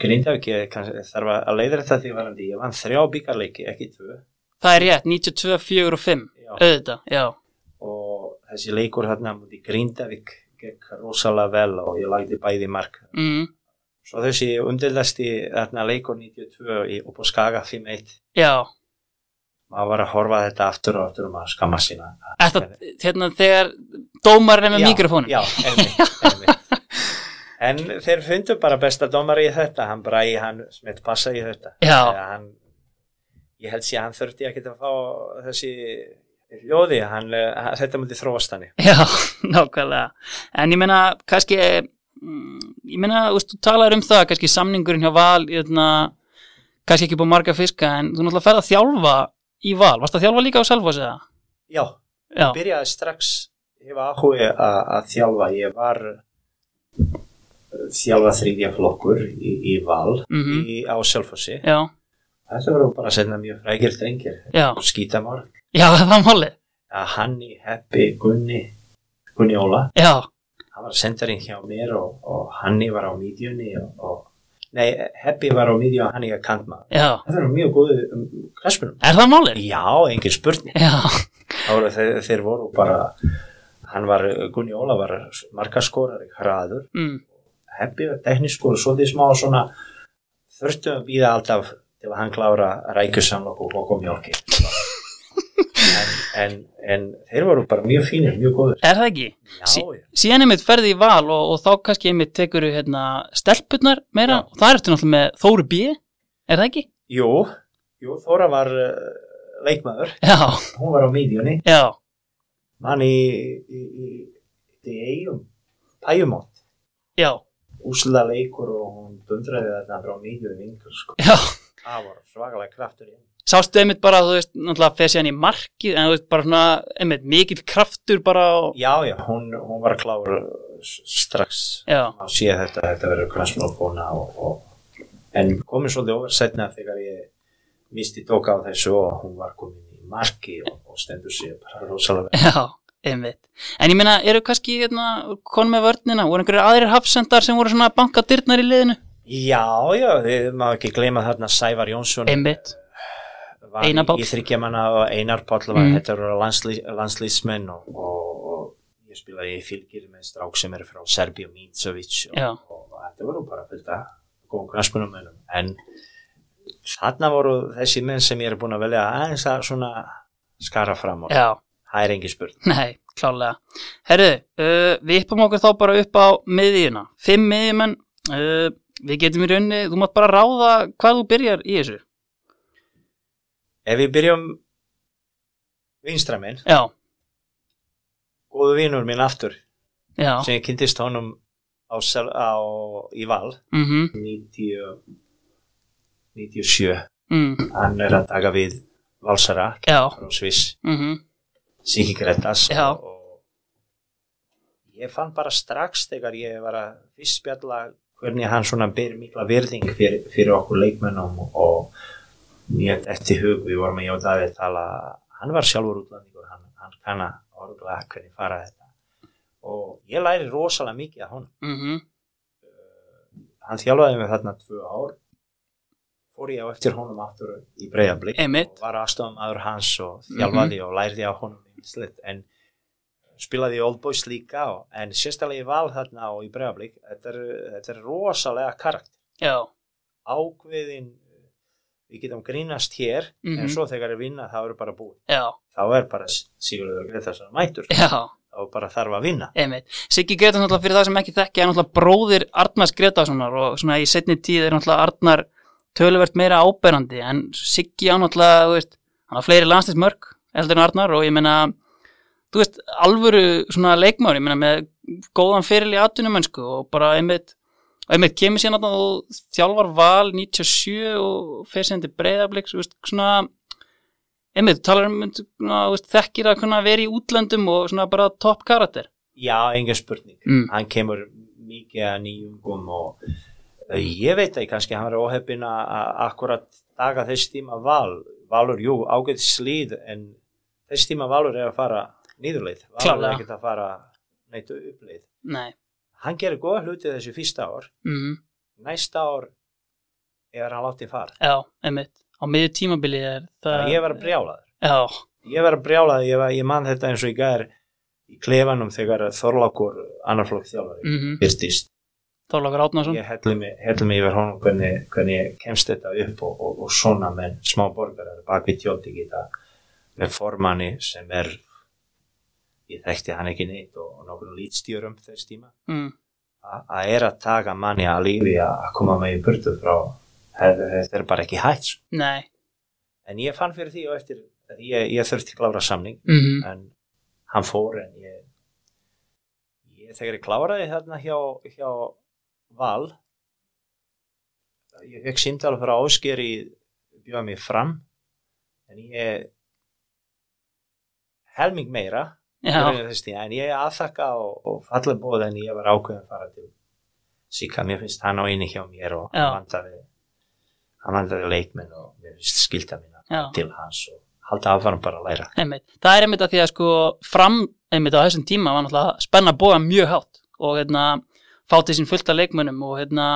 B: Grindavík ég kannski þarf að leiða þetta því varandi ég vann þrjá bíkarleiki, ekki tvö
A: Það er rétt, 92, 4 og 5
B: Já.
A: auðvitað, já,
B: og þessi leikur hérna múti Grindavík gekk rosalega vel og ég lagði bæði mark
A: mm,
B: svo þessi umdildasti hérna, leikur 92 í, upp á Skaga 5-1
A: já
B: maður var að horfa á þetta aftur og aftur og maður skamma sína
A: Þetta, hérna, þegar dómarinn er með
B: Já,
A: mikrofónum
B: já, einmitt, einmitt. en þeir fundu bara besta dómari í þetta hann bara í hann smitt passa í þetta
A: Já.
B: Þegar hann, ég held sér að hann þurfti ekki að fá þessi ljóði hann, eh, þetta múti þróast hann
A: Já, nákvæmlega. En ég meina, kannski, mm, ég meina, þú veist, þú talar um það, kannski samningurinn hjá Val, jötna, kannski ekki búið marga fiska, en þú náttúrulega ferð að þjálfa í Val. Varst að þjálfa líka á Selfoss eða?
B: já,
A: Já,
B: byrjaði strax ég var áhuga að, að þjálfa ég var eh, þjálfa þriðja flokkur í, í val
A: Mhm.
B: í, á Selfossi
A: já,
B: þetta voru bara senna mjög frækir drengir
A: já,
B: skítamorg
A: já, það var málið.
B: að Hanni, Heppi, Gunni Gunni Óla,
A: Já,
B: hann var sendarinn hjá mér og, og Hanni var á mídjunni og, og nei, Heppi var á mídjunni og Hanni að kantma
A: já,
B: það var mjög góðu um knaspunum
A: er það málið?
B: já, engin spurning
A: Já,
B: Það voru, þeir, þeir voru bara hann var, Gunni Óla var markaskorari hraður,
A: mm,
B: Heppi var tekniskur og svolítið smá svona þurftum að býða alltaf til að hann klára rækjusamlokk og lokum hjálki en, en, en þeir voru bara mjög fínir, mjög góður
A: er það ekki? Sí-
B: já, já
A: síðan einmitt ferði í val og, og þá kannski einmitt tekur hérna, stelpurnar meira
B: Já.
A: og það ertu náttúrulega með Þóru B er það ekki?
B: Jú, jú Þóra var uh, leikmaður,
A: Já,
B: hún var á mídjunni,
A: já,
B: mann í, í, í, í eigum, pæjumótt,
A: já,
B: úsla leikur og hún dundraði þarna frá mídjunni yngur sko.
A: já
B: Það var svakalega kraftur í henni.
A: sástu einmitt bara, þú veist, náttúrulega fer síðan í markið en þú veist, bara svona, einmitt, mikill kraftur bara á,
B: Já, já, hún, hún var klár uh, s- strax
A: já,
B: að sé þetta, þetta verður kransmálfóna og, og, en komið svolítið ofar setna þegar ég misti tók á þessu og hún var komin í marki og, og stendur sér bara rosalega vel.
A: já, einmitt en ég meina, eru kannski, hérna, konum með vörnina voru einhverjir aðrir hafsendar sem voru svona bankadyrnar í liðinu?
B: Já, já, við má ekki gleyma þarna Sævar Jónsson
A: Einmitt,
B: var
A: Einar Páll.
B: í, í þryggjamanna og Einar Páll var,
A: Mm.
B: þetta eru landslý, landslýsmenn og, og, og ég spilaði í fylgir með strák sem eru frá Serbíu Mincovic og,
A: Já.
B: og, þetta voru bara fullt að góðum knarspunumennum en þarna voru þessi menn sem ég er búin að velja aðeins að svona skara fram og
A: já
B: það er engin spurning
A: Nei, klálega. Herru, uh, við yppum okkur þá bara upp á miðjuna. Fimm miðjumenn, uh, við getum í rauninni, þú mátt bara ráða hvað þú byrjar í þessu.
B: Ef við byrjum vinstramenn,
A: Já,
B: góðu vinur minn aftur
A: já,
B: sem ég kynntist honum á, sel, á, í val
A: mhm,
B: 90, 97
A: mm,
B: hann er að taka við Valsara
A: já,
B: frá Sviss,
A: mhm,
B: Siki Gretas
A: Já.
B: og ég fann bara strax þegar ég var að fyrst spjalla hvernig hann svona ber mikla verðing fyrir, fyrir okkur leikmennum og mér eftir hug við vorum að jóta að tala hann var sjálfur útlandingur hann, hann kann að orðla hvernig fara þetta og ég læri rosalega mikið af honum
A: mhm,
B: hann þjálfaði mig þarna tvö ár fór ég á eftir honum aftur í breyðablík
A: Einmitt. Mhm.
B: og var aðstofan aður hans og þjálfaði og lærði á honum ymmislegt. en spilaði í Old Boys líka og, en sérstaklega ég val þarna og í breyðablík þetta, er- þetta er rosalega karakter
A: já,
B: ákveðin við getum grínast hér
A: Mhm.
B: en svo þegar við vinna það verður bara búið
A: já,
B: þá er bara Sigurður Grétarsson mætur
A: já
B: þá bara þarf að vinna
A: Einmitt. Siggi Gretars náttúrulega fyrir það sem ekki þekki er náttúrulega bróðir Arnars Gretarssonar og svona í setni tíð er náttúrulega Arnar töluvert meira áberandi en Siggi á náttúrulega, þú veist, hann har fleiri landslist mörg eldur en Arnar og ég meina þú veist, alvöru svona leikmár ég meina með góðan feril í atvinnumönsku og bara einmitt og einmitt kemur sér náttúrulega og þjálfar val 97 og fer sér til breyðabliks, þú veist, svona einmitt, þú talar um svona, þú veist, þekkir að kunna vera í útlöndum og svona bara topp karakter
B: já, engin spurning
A: Mm.
B: hann kemur mikið að nýjungum og eh, ég veit ekki kannski hann er óheppin að- að akkurat daga þess tíma val Valur, jú, ágætt slíð en þess tíma Valur er að fara nýðurleið, Valur er
A: Klárlega.
B: ekkert að fara neitt uppleið
A: Nei,
B: hann gerir góða hluti þessu fyrsta ár
A: mm,
B: næsta ár er hann látið far
A: já, einmitt á miður tímabili er það
B: ég var brjálaður
A: Já,
B: ég var brjálaður, ég, var, ég man þetta eins og í gær í klefanum þegar Þorlákur annarflokk þjálfari
A: mm -hmm.
B: byrtist
A: Þorlákur Átnarsson
B: ég hellu mig, hellu mig yfir honum hvernig, hvernig kemst þetta upp og, og, og svona menn, smá borgarar bakvið tjóti geta með formanni sem er ég þekkti hann ekki neitt og, og nokkur lítstjörum þess tíma
A: mm,
B: A- að er að taka manni að lífi að koma með í burtu frá þetta þetta er bara ekki hægt sko.
A: Nei,
B: en ég fann fyrir því og eftir ég, ég þurfti klára samning
A: mm
B: en hann fór en ég, ég þegar ég kláraði þarna hjá, hjá Val ég fekk símtala frá Ásker í bjóða mig fram en ég helming meira
A: já,
B: fyrir þess tíma, en ég aðþakka og, og falla bóð en ég var ákveðin að fara til Sika, mér finnst hann á einu hjá mér og
A: Já.
B: hann vandaði hann vandaði leikmenn og mér finnst skilda minna
A: já,
B: til hans og halda aðvarum bara að læra
A: einmitt Það er einmitt að því að sko fram einmitt á þessum tíma var náttúrulega spenna bóða mjög hátt og hérna fáti sín fullt af leikmönnum og hérna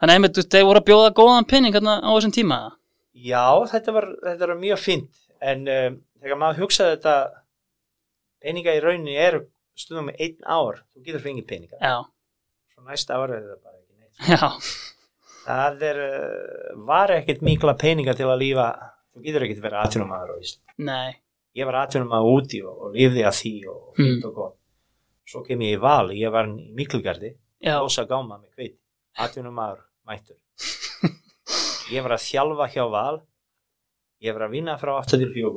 A: þannig að einmitt, þú veist, þeir voru að bjóða góðan pinning hérna á þessum tíma
B: Já, þetta var, þetta var mjög fint en um, þegar maður hugsaði þetta peninga í rauninni eru stundum með einn ár, þú getur fengið peninga
A: Já,
B: svo næsta ára er þetta bara ekki neitt
A: já,
B: það er, uh, var ekkert mikla peninga til að lífa þú getur ekkert verið atvinnumæður á Íslandi
A: nei
B: ég var atvinnumæður úti og, og lífði að því og, og fint og gott svo kem ég í val, ég var í miklugardi
A: Já,
B: rosa gáma með kveit atvinnumæður mættur ég var að þjálfa hjá val ég var að vinna frá 8 til 4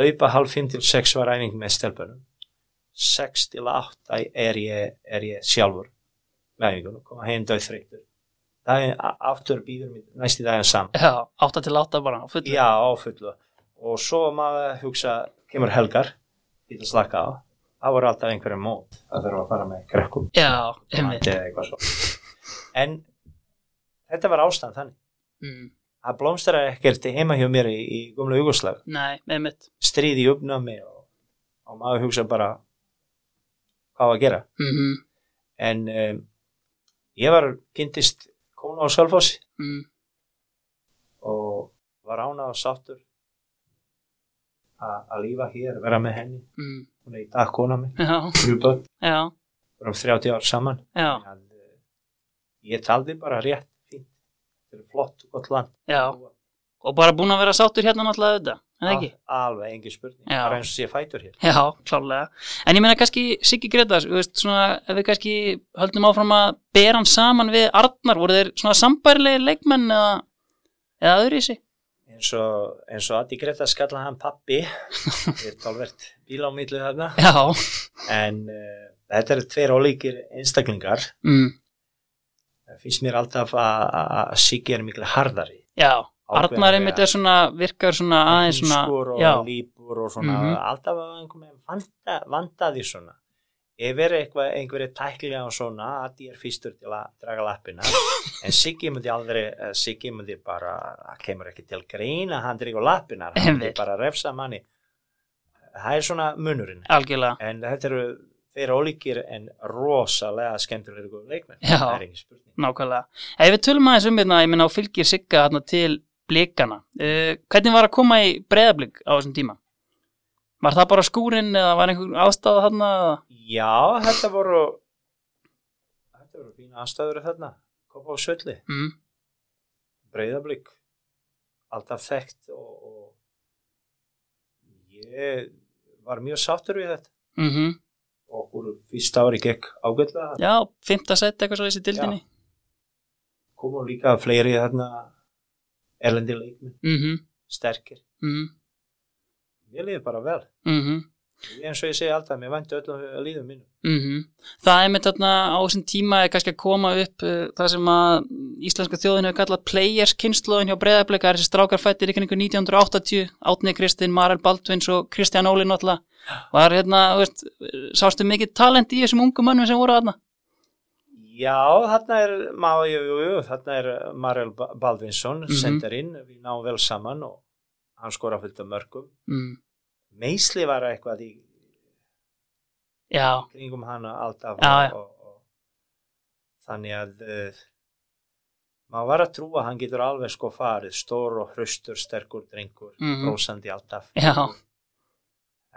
B: laupa halv 5 til 6 var æfing með stelpunum 6 til 8 er ég, er ég sjálfur með æfingunum, koma heim döð þreytur daginn a- aftur býður mér næsti daginn saman
A: já, átta til átta bara á fullu
B: já, á fullu og svo maður hugsa, kemur helgar í það slaka á það voru alltaf einhverjum mót að þurfa að fara með krekkum
A: já
B: Mati
A: einmitt
B: eða eitthvað svo en þetta var ástand þannig
A: mm,
B: að blómstara ekkert heima hjá mér í, í gumla Jugosláð
A: Nei, einmitt
B: stríði í uppnámi og, og maður hugsa bara hvað á að gera
A: mm
B: en um, ég var kynntist konu á Sölfoss
A: mm,
B: og var ána og sáttur a- að lífa hér, vera með henni
A: mm,
B: hún er í dag kona mig,
A: Já,
B: þrjú börn
A: já,
B: vorum 30 ár saman
A: já,
B: að, uh, ég taldi bara rétt fínt, þetta er flott og gott land
A: já og bara búin að vera sáttur hérna náttúrulega þetta, en ekki?
B: Al, alveg, engin spurning,
A: Já.
B: bara eins og sé fætur hér
A: Já, klálega. En ég meina kannski Siggi Gretars, þú veist, svona, ef við kannski höldum áfram að bera hann saman við Arnar, voru þeir svona sambærilegi leikmenn eða, eða öðru í sig?
B: eins og, eins og Adi Greta skalla hann pappi við erum tálvert bíl á millu þarna
A: Já,
B: en uh, þetta eru tveir ólíkir einstaklingar
A: mm,
B: það finnst mér alltaf að að- að Siggi er miklu harðari
A: já,
B: Ákveðin
A: Arnar einmitt er svona, virkar svona aðeins svona,
B: Húskur og
A: já,
B: lípur og svona
A: Mhm.
B: alltaf að einhvern veginn vanda, vandaði svona ef er eitthvað einhverju tæklilega og svona Adi er fyrstur til að draga lappina en Siggi myndi aldrei eh, Siggi myndi bara, það kemur ekki til greina hann dreigur lappina, hann myndi
A: Einmitt.
B: bara refsa manni það er svona munurinn
A: algjörlega,
B: en þetta eru þeir ólíkir en rosalega skemmtilega góð leikmenn
A: Já.
B: það er engin spurning
A: nákvæmlega. Ef við tölum aðeins um hérna, ég meina, og fylgir Sigga hérna til blikana, uh, hvernig var að koma í breyðablík á þessum tíma? Var það bara skúrin eða var einhver ástæða þarna? eða?
B: já, þetta voru
A: Mhm.
B: þetta voru fína aðstæður þarna, kopa á sölli
A: Mm,
B: breyðablík alltaf þekkt og, og ég var mjög sáttur við þetta
A: mm
B: og okkur fyrsta ári gekk ágætlega
A: Já, fymta sett eitthvað svo þessi dildinni
B: komu líka fleiri þarna erlendi leikmi,
A: mhm,
B: sterkir
A: mhm,
B: ég liði bara vel,
A: mhm
B: eins og ég segi alltaf mér vandi öllum líðum mínum
A: Mm Það er með þarna á þessum tíma er kannski að koma upp uh, það sem að íslenska þjóðin hefur kallað players kynnslóðin hjá breyðarbleika er þessi strákar fættir í kringu 1980 Átni Kristinn, Marel Baldvins og Kristján Óli náttúrulega var hérna, þú veist, sástu mikið talent í þessum ungu mönnum sem voru þarna
B: Já, þarna er, má, jú, jú, jú, þarna er Marel Ba- Baldvinsson, mm
A: Mhm.
B: senderinn, við náum vel saman og hann skora fullt af mörgum.
A: mm.
B: Meisli var eitthvað í
A: Já,
B: kringum hana alltaf
A: Já, já.
B: og, og, og þannig að uh, maður var að trúa að hann getur alveg sko farið, stór og hraustur, sterkur drengur, mm
A: Mhm.
B: brósandi alltaf.
A: Já.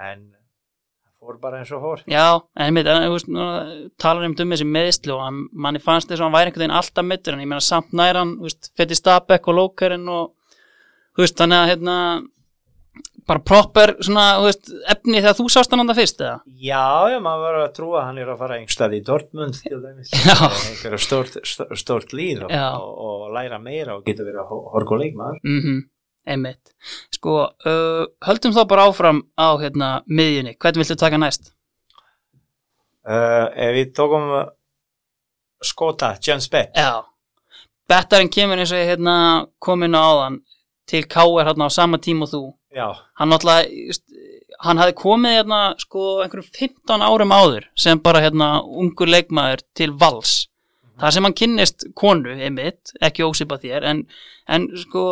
B: En það fór bara eins og fór.
A: já, en með talar um dömið sem meðslu og hann, manni fannst þess að hann væri einhvern veginn alltaf meittur en ég meina samt nær hann, þú veist, fætti Stabæk og Lókerinn og þú veist, þannig að hérna bara proper svona, þú veist, efni þegar þú sást hann andan fyrst eða?
B: Já, já, maður var að trúa að hann er að fara einhverstað í Dortmund til dæmis,
A: Já.
B: einhverja stort, stórt- stórt líð og,
A: Já.
B: og, og læra meira og getur verið að horga leikmaður.
A: Mhm, einmitt Sko, uh, höldum þá bara áfram á hérna miðjunni, hvern viltu taka næst?
B: Uh, ef við tókum uh, skota, James Bett,
A: Já Bettarinn kemur eins og ég hérna komin á áðan til KR hérna á sama tíma og þú
B: já,
A: hann náttúrulega just, hann hafði komið hérna sko einhverjum 15 árum áður sem bara hérna ungur leikmaður til vals þar sem hann kynnist konu einmitt, ekki ósipa þér en, en sko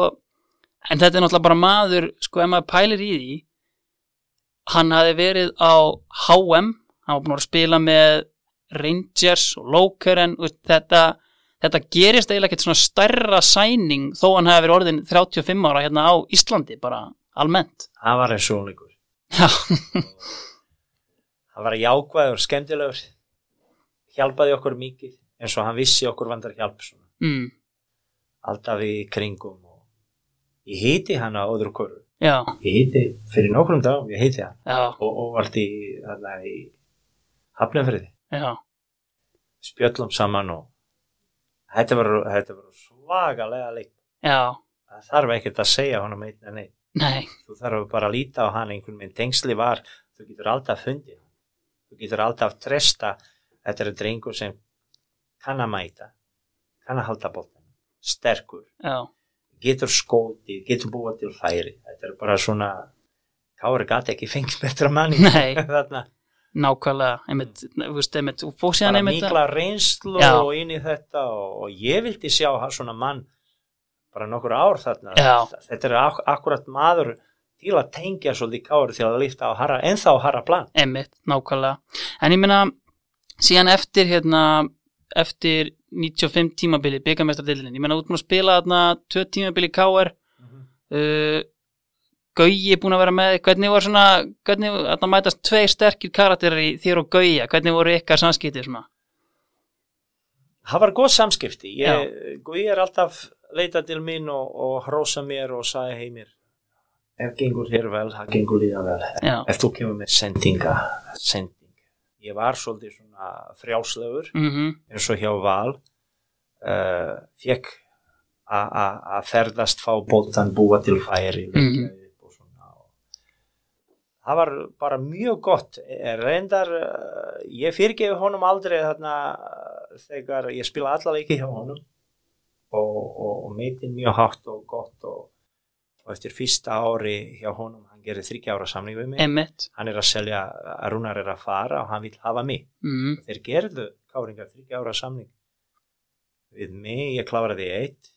A: en þetta er náttúrulega bara maður sko ef maður pælir í því hann hafði verið á HM hann var búin að spila með Rangers og Lókeren og þetta, þetta gerist eiginlega ekkert svona stærra sæning þó hann hafi verið orðin 35 ára hérna á Íslandi bara almennt
B: hann var eins og unleikur.
A: Já,
B: Hann var jákvæður, skemmtilegur, hjálpaði okkur mikið, eins og hann vissi okkur vandar hjálp, svona.
A: mm,
B: alltaf í kringum. Og... Ég heiti hann á öðru koru,
A: já,
B: ég heiti, fyrir nokkrum dagum, ég heiti hann.
A: já,
B: og óvart í, þarna í hafnumfriði,
A: já,
B: spjöllum saman og þetta var, þetta var svagalega leik
A: já,
B: það þarf ekkert að segja honum einn en einn
A: nei,
B: þú þarf bara að líta á hann einhvern veginn tengsli var, þú getur alltaf fundið hann. þú getur alltaf tresta þetta er drengur sem kann að mæta, kann að halda bóttan sterkur,
A: já,
B: getur skóti getur búa til færi, þetta er bara svona Kári gæti ekki fengið betra manni
A: Nei.
B: þarna
A: nákvæmlega, einmitt, þú veist, einmitt, og fór síðan
B: bara
A: einmitt að-
B: mikla reynslu
A: Já.
B: og inn í þetta og, og ég vildi sjá hann svona mann bara nokkur ár þarna
A: Já.
B: þetta er ak akkurat maður til að tengja svolítið kári til að lifta á harra, ennþá á harra plan
A: einmitt, nákvæmlega, en ég meina, síðan eftir, hérna, eftir 95 tímabili, byggamestardildin, ég meina, út með að spila þarna, tvö tímabili KR,
B: Mhm.
A: uh, Gauji búin að vera með, hvernig voru svona, hvernig, þarna mætast tveir sterkir karakterar í þér og Gauja, hvernig voru ykkar samskiptið svona?
B: það var góð samskipti ég, ég er alltaf leita til mín og, og hrósa mér og sagði heimir ef gengur hér vel, það gengur líka vel
A: Já,
B: ef þú kemur með sendinga sending, ég var svolítið svona frjálslegur
A: mhm,
B: eins og hjá Val uh, fekk að ferðast fá bóttan búa til færi
A: Mhm.
B: og svona og það var bara mjög gott Eh, reyndar, uh, ég fyrirgefi honum aldrei þarna eh, þegar ég spila alla leiki hjá honum og, og, og meitin mjög hátt og gott og, og eftir fyrsta ári hjá honum, hann gerir þryggja ára samning við mig,
A: einmitt,
B: hann er að selja að Rúnar er að fara og hann vil hafa mig
A: mhm,
B: þeir gerðu káringar þryggja ára samning við mig, ég kláraði eitt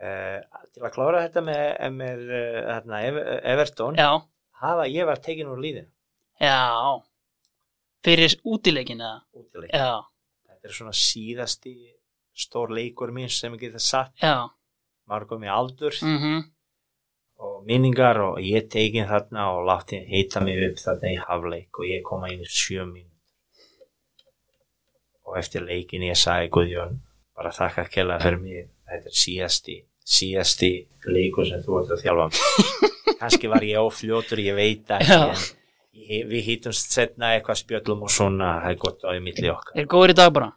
B: uh, til að klára þetta með, með uh, hérna, Ever- Everton
A: já,
B: hafa ég var tekin úr líðin
A: Já, fyrir útileikin eða?
B: útileik,
A: Já,
B: þetta er svona síðasti stór leikur minn sem ég geta satt
A: já,
B: maður komið aldur
A: mhm,
B: og minningar og ég tekin þarna og látti heita mig upp þarna í hafleik og ég koma inn í sjö minn og eftir leikin ég sagði Guðjón bara þakka kella fyrir mig þetta er síðasti síðasti leikur sem þú ert að þjálfa kannski var ég ófljótur, ég veit ekki
A: Já.
B: en ég, við hýtumst setna eitthvað spjöllum og svona, það er gott á í milli okkar
A: er góður í dag bara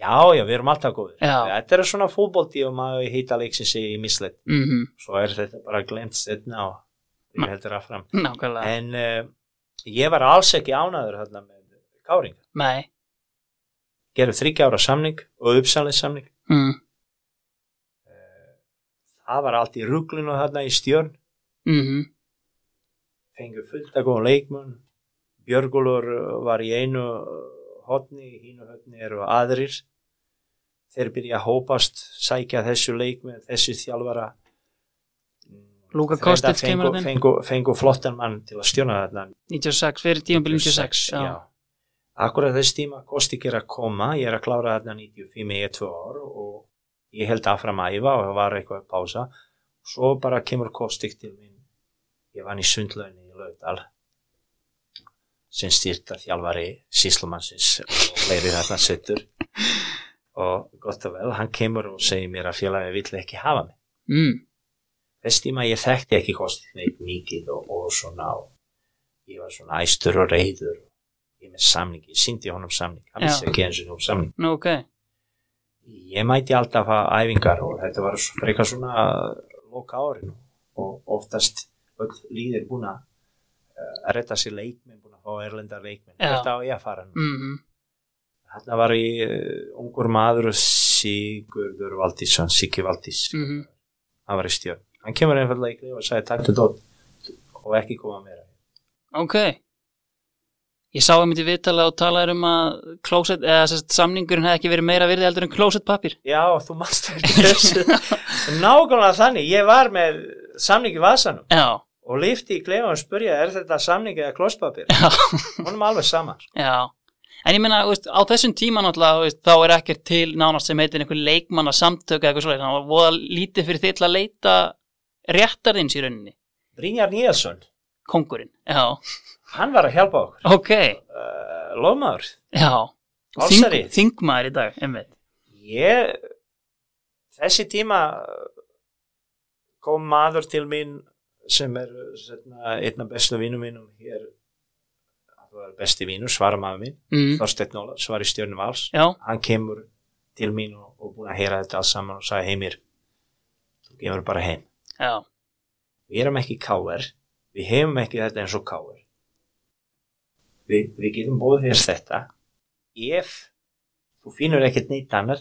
B: já, já, við erum alltaf góðir
A: Já.
B: þetta er svona fótbolti og maður hýta leiksins í misleitt,
A: mm
B: svo er þetta bara glemt setna og
A: Ma-
B: við heldur að fram
A: nákvæmlega,
B: en uh, ég var alls ekki ánæður þarna með Káring
A: nei
B: gerðu þryggja ára samning og uppsalins samning Eh,
A: mm.
B: það var allt í ruglunu þarna í stjörn
A: Mm
B: fengu fullt að góða leikmenn Björgólur eh, var í einu hotni, í hínu hotni eru aðrir þeir byrja að hópast, sækja þessu leikmenn þessu þjálfara
A: Luka
B: Þrenda
A: Kostic kemur
B: fengu,
A: þarna inn.
B: fengu, fengu flottan mann til að stjörna þarna
A: 96, fyrir tímabil 96 já.
B: já. Akkurat þess tíma Kostik er að koma, ég er að klára þarna 95 í 2 ár og ég held áfram að æfa og það var eitthvað að pása. Svo bara kemur Kostik til mín, ég vann í sundlaunni í Laudal sem styrta þjálfari síslumannsins og fleiri þarna settur og gott og vel, hann kemur og segir mér að félagi vill ekki hafa mig
A: Mm.
B: þess tíma ég þekkti ekki kostið neitt mikið og, og svona og ég var svona æstur og reyður ég með samning, ég síndi honum samning hann
A: Já.
B: vissi ekki eins og um samning
A: nú ok
B: ég mæti alltaf að æfingar og þetta var svo- frekar svona loka árin og oftast öll líðir búin að eh, að retta sér leikmenn, búin að fá erlendar leikmenn
A: Já.
B: þetta á ég að fara nú
A: mm
B: þarna var ég eh, ungur maður Sigurður Valdísson Siggi Valdís
A: -hmm.
B: hann var í stjórn hann kemur einfallega í klif og sagði takk til dótt og ekki koma meira
A: ok ég sá einmitt í viðtala og talaði um að closet, eða sérst, samningurinn hefði ekki verið meira virði heldur en closetpapir
B: já þú mannst eftir þessu nákvæmlega þannig, ég var með samning í vasanum
A: já,
B: og lifti í klif og hann spurja er þetta samning eða klosspapir
A: já,
B: honum alveg sama sko.
A: já en ég meina, þú veist, á þessum tíma náttúrulega þú veist, þá er ekkert til nánast sem heitir einhver leikmanna samtök eða eitthvað svoleiðis þannig að voða lítið fyrir þið til að leita réttarins í rauninni,
B: Brynjar Níðarsson,
A: kongurinn já,
B: hann var að hjálpa okkur
A: ok,
B: uh, lofmaður,
A: já
B: Valsari.
A: þingmaður í dag, einmitt
B: ég þessi tíma eh, kom maður til mín sem er setna, einn af bestu vínum mínum hér það var besti vínur, svara maður mín
A: mm.
B: Þorsteinn Ólafs var í stjörnum vals
A: já,
B: hann kemur til mín og, og búin að heyra þetta alls saman og sagði heimir þú kemur bara heim
A: já,
B: við erum ekki káver við hefum ekki þetta eins og káver Vi, við getum bóðið þér þetta ef þú finnur ekkert neitt annar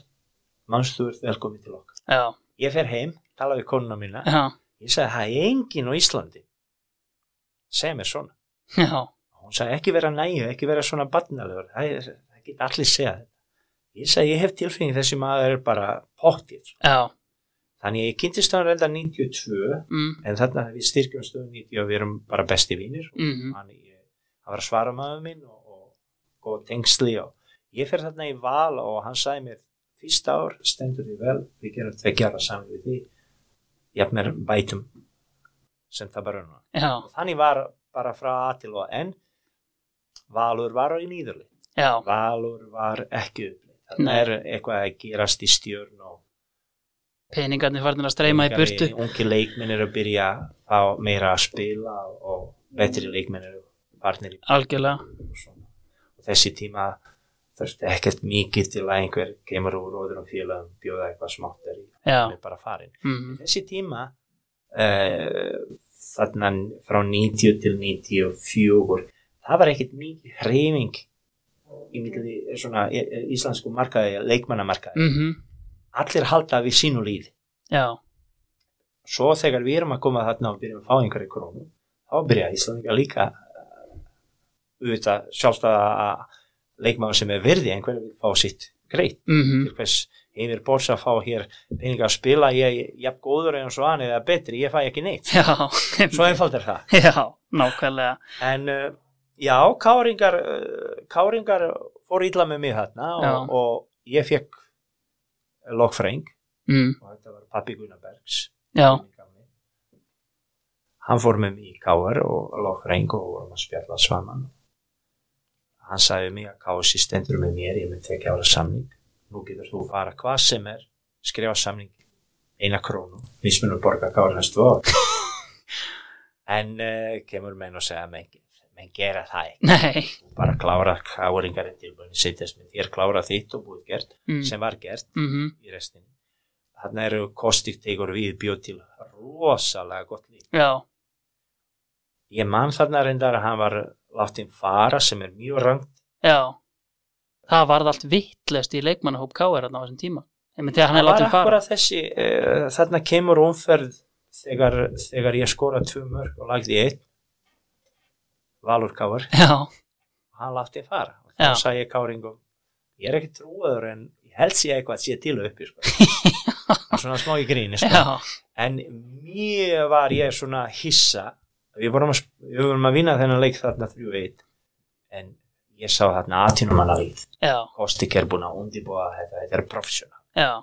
B: mannst þú ert velkomin til okkar
A: já,
B: ég fer heim, tala við konuna mína
A: já
B: ég sagði það er engin á Íslandi segja mér svona
A: já,
B: hún sagði ekki vera næju, ekki vera svona batnalegur, það, er- það geta allir segja þetta ég sagði ég hef tilfengið þessi maður er bara pottið
A: já
B: þannig að ég kynntist hann reynda 92
A: mm.
B: en þarna við styrkjum stöðum 90 og við erum bara besti vínir
A: Mm
B: hann, ég, hann var að svara maður minn og, og, og tengsli og ég fer þarna í val og hann sagði mér fyrsta ár stendur því vel við gerum tveggjara saman við því jafnir bætum sem það bara núna
A: já,
B: og þannig var bara frá að til og en Valur var í nýðurli
A: já,
B: Valur var ekki upplið
A: Nei.
B: það er eitthvað að gerast í stjörn og
A: peningarnir farnir að streyma í burtu
B: ungi leikminn eru að byrja að fá meira að spila og betri leikminn eru farnir í
A: algjörlega,
B: og svona og þessi tíma þurfti ekkert mikið til að einhver kemur úr óður og félagum bjóða eitthvað smátt er í
A: já
B: er bara farin
A: mm.
B: þessi tíma uh, þarna frá 90 til 94 það var ekkert mikið hreyfing í milli svona eh, eh, íslensku markaði, leikmannamarkaði
A: Mm
B: allir halda við sínu líð
A: já,
B: svo þegar við erum að koma þarna og byrjum að fá einhverju krónu þá byrja Íslandingar líka eh, auðvitað sjálfstæða að leikmaður sem er virði einhverju vil fá sitt greitt
A: mm
B: til hvers heimir bors að fá hér peninga að spila ég er jafn góður eins og hann eða betri ég fæ ekki neitt
A: já
B: svo einfald er það
A: já, nákvæmlega
B: en uh, já, káringar uh, káringar fór ítla með mig þarna
A: Já.
B: og, og ég fekk lokfreng
A: mm.
B: og þetta var pappi Gunnarbergs
A: já,
B: hann fór með mig í Káar og Lofreng og vorum að spjalla saman hann sagði mig að Kási stendur með mér ég mun tekja ára samning nú getur þú fara hvað sem er skrifa samning eina krónu mismunum borga kára næstu ár en uh, kemur menn og segja menn, menn gera það ekki
A: Nei.
B: Þú bara klára káringar en tilbúin setjast með þér klára þitt og búið gert
A: Mm.
B: sem var gert
A: Mm
B: í restinni þannig eru kostið tegur við bjóð til rosalega gott líf
A: Já.
B: ég man þarna reyndar að hann var látið fara sem er mjög rangt
A: Já. Það varð allt vittlust í leikmannahóp K.R. þarna á þessum tíma. Emi, þegar hann er
B: það var
A: látið fara.
B: akkura þessi uh, þarna kemur umferð þegar, þegar ég skora tvö mörg og lagði eitt Valur Káar
A: Já.
B: og hann látti fara og
A: Já.
B: þá sagði ég Káringum ég er ekki trúaður en ég held sé eitthvað að sé til uppi sko. Það er svona smá í gríni sko.
A: Já.
B: en mér var ég svona hissa við vorum að, sp- við vorum að vinna þennan leik þarna 3-1 en ég sá þarna 18 manna leik
A: Já.
B: Kostik er búin að undibúa þetta, þetta er professional
A: Já.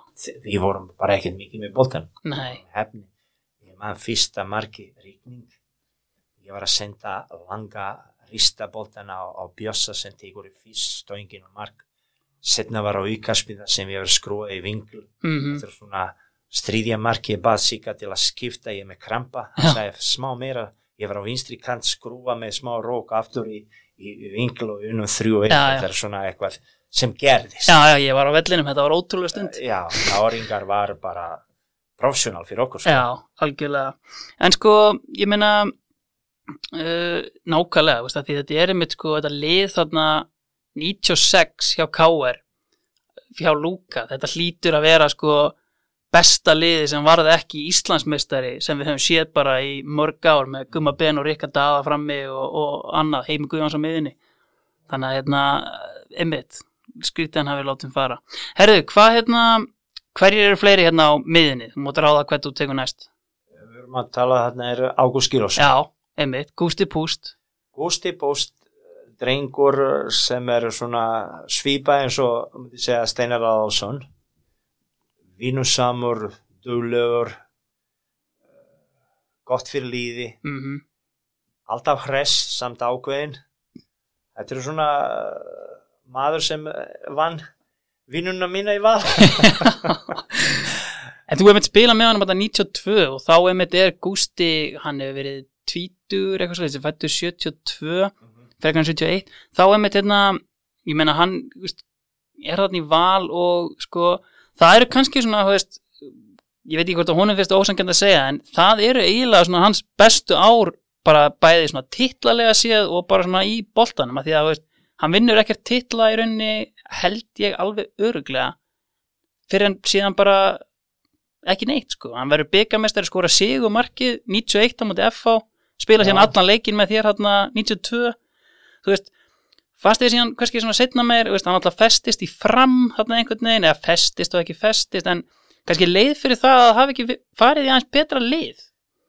B: við vorum bara ekkert mikið með boltan
A: Nei.
B: hefni ég man fyrsta marki rigning ég var að senda langa ristaboltana á, á bjössa sem tegur í fyrst stöngin og mark setna var á ykaspiða sem ég var að skrúa í vingl
A: Mm
B: þetta er svona stríðja marki ég bað Sigga til að skipta ég er með krampa hann
A: Já.
B: sagði smá meira ég var á vinstri kant skrúa með smá rók aftur í, í, í vingl og unum þrjú og eitt.
A: Já, já.
B: þetta er svona eitthvað sem gerðist
A: Já, já, ég var á vellinum, þetta var ótrúlega stund.
B: já náringar var bara professional fyrir okkur sko.
A: Já, algjörlega. En sko, ég meina, uh, nákvæmlega, veist það, því þetta er einmitt sko, þetta lið þarna 96 hjá KR, hjá Lúka, þetta hlýtur að vera sko besta liði sem varði ekki Íslandsmeistari sem við höfum séð bara í mörg ár með Gumma Ben og Rikka Daða frammi og, og annað, Heimi Guðjóns á miðinni. Þannig að hérna, einmitt, skrítið hann hafi látið fara. Herðu, hvað hérna, Hverjir eru fleiri hérna á miðinni? Þú mót ráða hvernig þú tekur næst.
B: Við erum að tala þarna er Ágúst Gílós.
A: Já, einmitt, gústi púst.
B: Gústi Bóst, drengur sem er svona svipa eins og um myndi segja Steinar Aðalsson. Vínusamur, duglegur, eh, gott fyrir líði,
A: Mm
B: alltaf hress samt ákveðin. Þetta er svona eh, maður sem eh, vann vinnuna mína í val.
A: En þú einmitt spila með hann um þetta 92 og þá einmitt er gústi, hann hefur verið tvítur, eitthvað svolítið, sem fættur 72, frekar hann 71. Þá einmitt hérna, ég meina hann, þú veist, er þarna í val og sko, það eru kannski svona, þú veist, ég veit ekki hvort að honum finnst ósangjand að segja, en það eru eiginlega svona hans bestu ár bara bæði svona titlalega séð og bara svona í boltanum að því að þú veist, hann vinnur ekkert titla í rauninni held ég alveg öruglega fyrir hann síðan bara ekki neitt sko, hann verður byggamestari skora sigumarkið 91 á móti FH spila
B: Já.
A: síðan allan leikin með þér hérna 92 þú veist, fastið síðan kannski svona setna meir, þú veist, hann alltaf festist í fram þarna einhvern veginn, eða festist og ekki festist en kannski leið fyrir það að hafa ekki farið í aðeins betra leið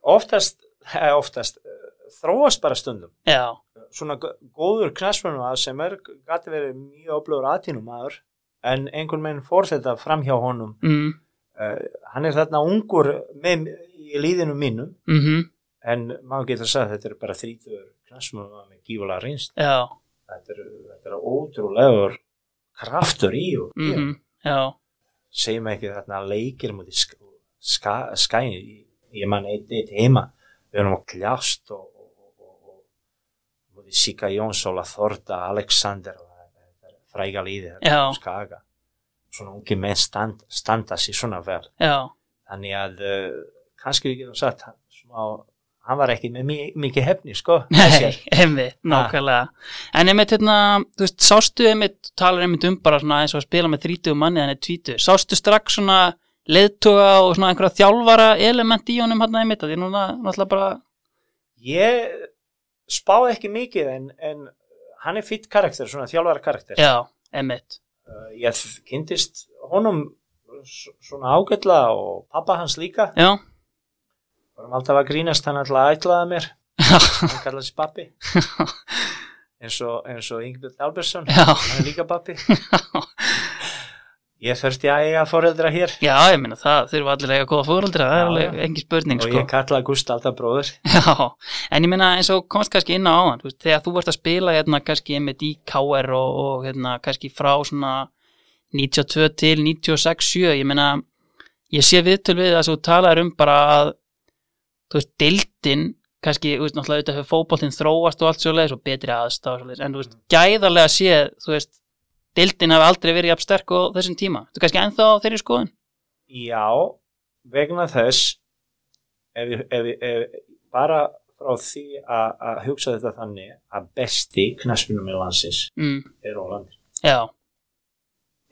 B: Oftast, eh, oftast, eh, þróast bara stundum.
A: já,
B: svona gó- góður knæsmönnum að sem er gæti verið mjög öflugur aðtínum aður en einhvern veginn fór þetta fram hjá honum
A: mm,
B: uh, hann er þarna ungur með í líðinu mínum
A: mhm
B: en maður getur að segja að þetta er bara þrítur knæsmönnum með gífulega reynst
A: já,
B: þetta er, þetta er ótrúlegur kraftur í og
A: mhm, já,
B: segjum ekki þarna leikir múti sk ska skæni ég man eitt eitt heima við erum að kljást og, og, og, og múti Sika Jónsóla Þorda, Alexander og það er fræga líði
A: Já.
B: þarna á skaga svona ungi menn stand, standa sér svona vel
A: já,
B: þannig að uh, kannski við getum sagt hann, smá, hann var ekki með mi mikið hefni sko
A: nei, einmitt, nákvæmlega. En einmitt, hérna, þú veist, sástu einmitt, talar einmitt um bara svona eins og að spila með 30 manni þannig 20, sástu strax svona leiðtoga og svona einhverja þjálfara element í honum hérna einmitt, af því núna náttúrulega bara,
B: ég spáði ekki mikið en, en hann er fýtt karakter svona þjálfara karakter
A: já, einmitt,
B: Eh, ég kynntist honum s- svona ágætla og pappa hans líka
A: já,
B: varum alltaf að grínast hann alltaf ætlaði mér hann kallaði sig pappi eins og, eins og Ingbjörn Albersson
A: já,
B: hann er líka pappi ég þurfti að eiga foreldra hér
A: já, ég meina, það þurfa allir að eiga góða fóröldra, það er
B: Já,
A: alveg
B: já.
A: engin spurning,
B: og
A: sko.
B: ég kallaði Gúst alltaf bróður
A: Já, en ég meina eins og komst kannski inn á áðan, þú veist, þegar þú varst að spila hérna kannski einmitt í KR og, og hérna kannski frá svona 92 til 96, 7, ég meina ég sé viðtöl við það sem þú talar um bara að þú veist, deildin kannski, þú veist, náttúrulega auðvitað hefur fótboltinn þróast og allt svo leiðis og betri aðstáð og svo leiðis, en þú veist, gæðarlega séð, þú veist deildin hafi aldrei verið jafn sterk á þessum tíma þú kannski ennþá á þeirri skoðun
B: Já, vegna þess ef, ég- ef, ég- ef, bara frá því að að hugsa þetta þannig að besti knaspunum í landsins
A: mm,
B: er Óland
A: já,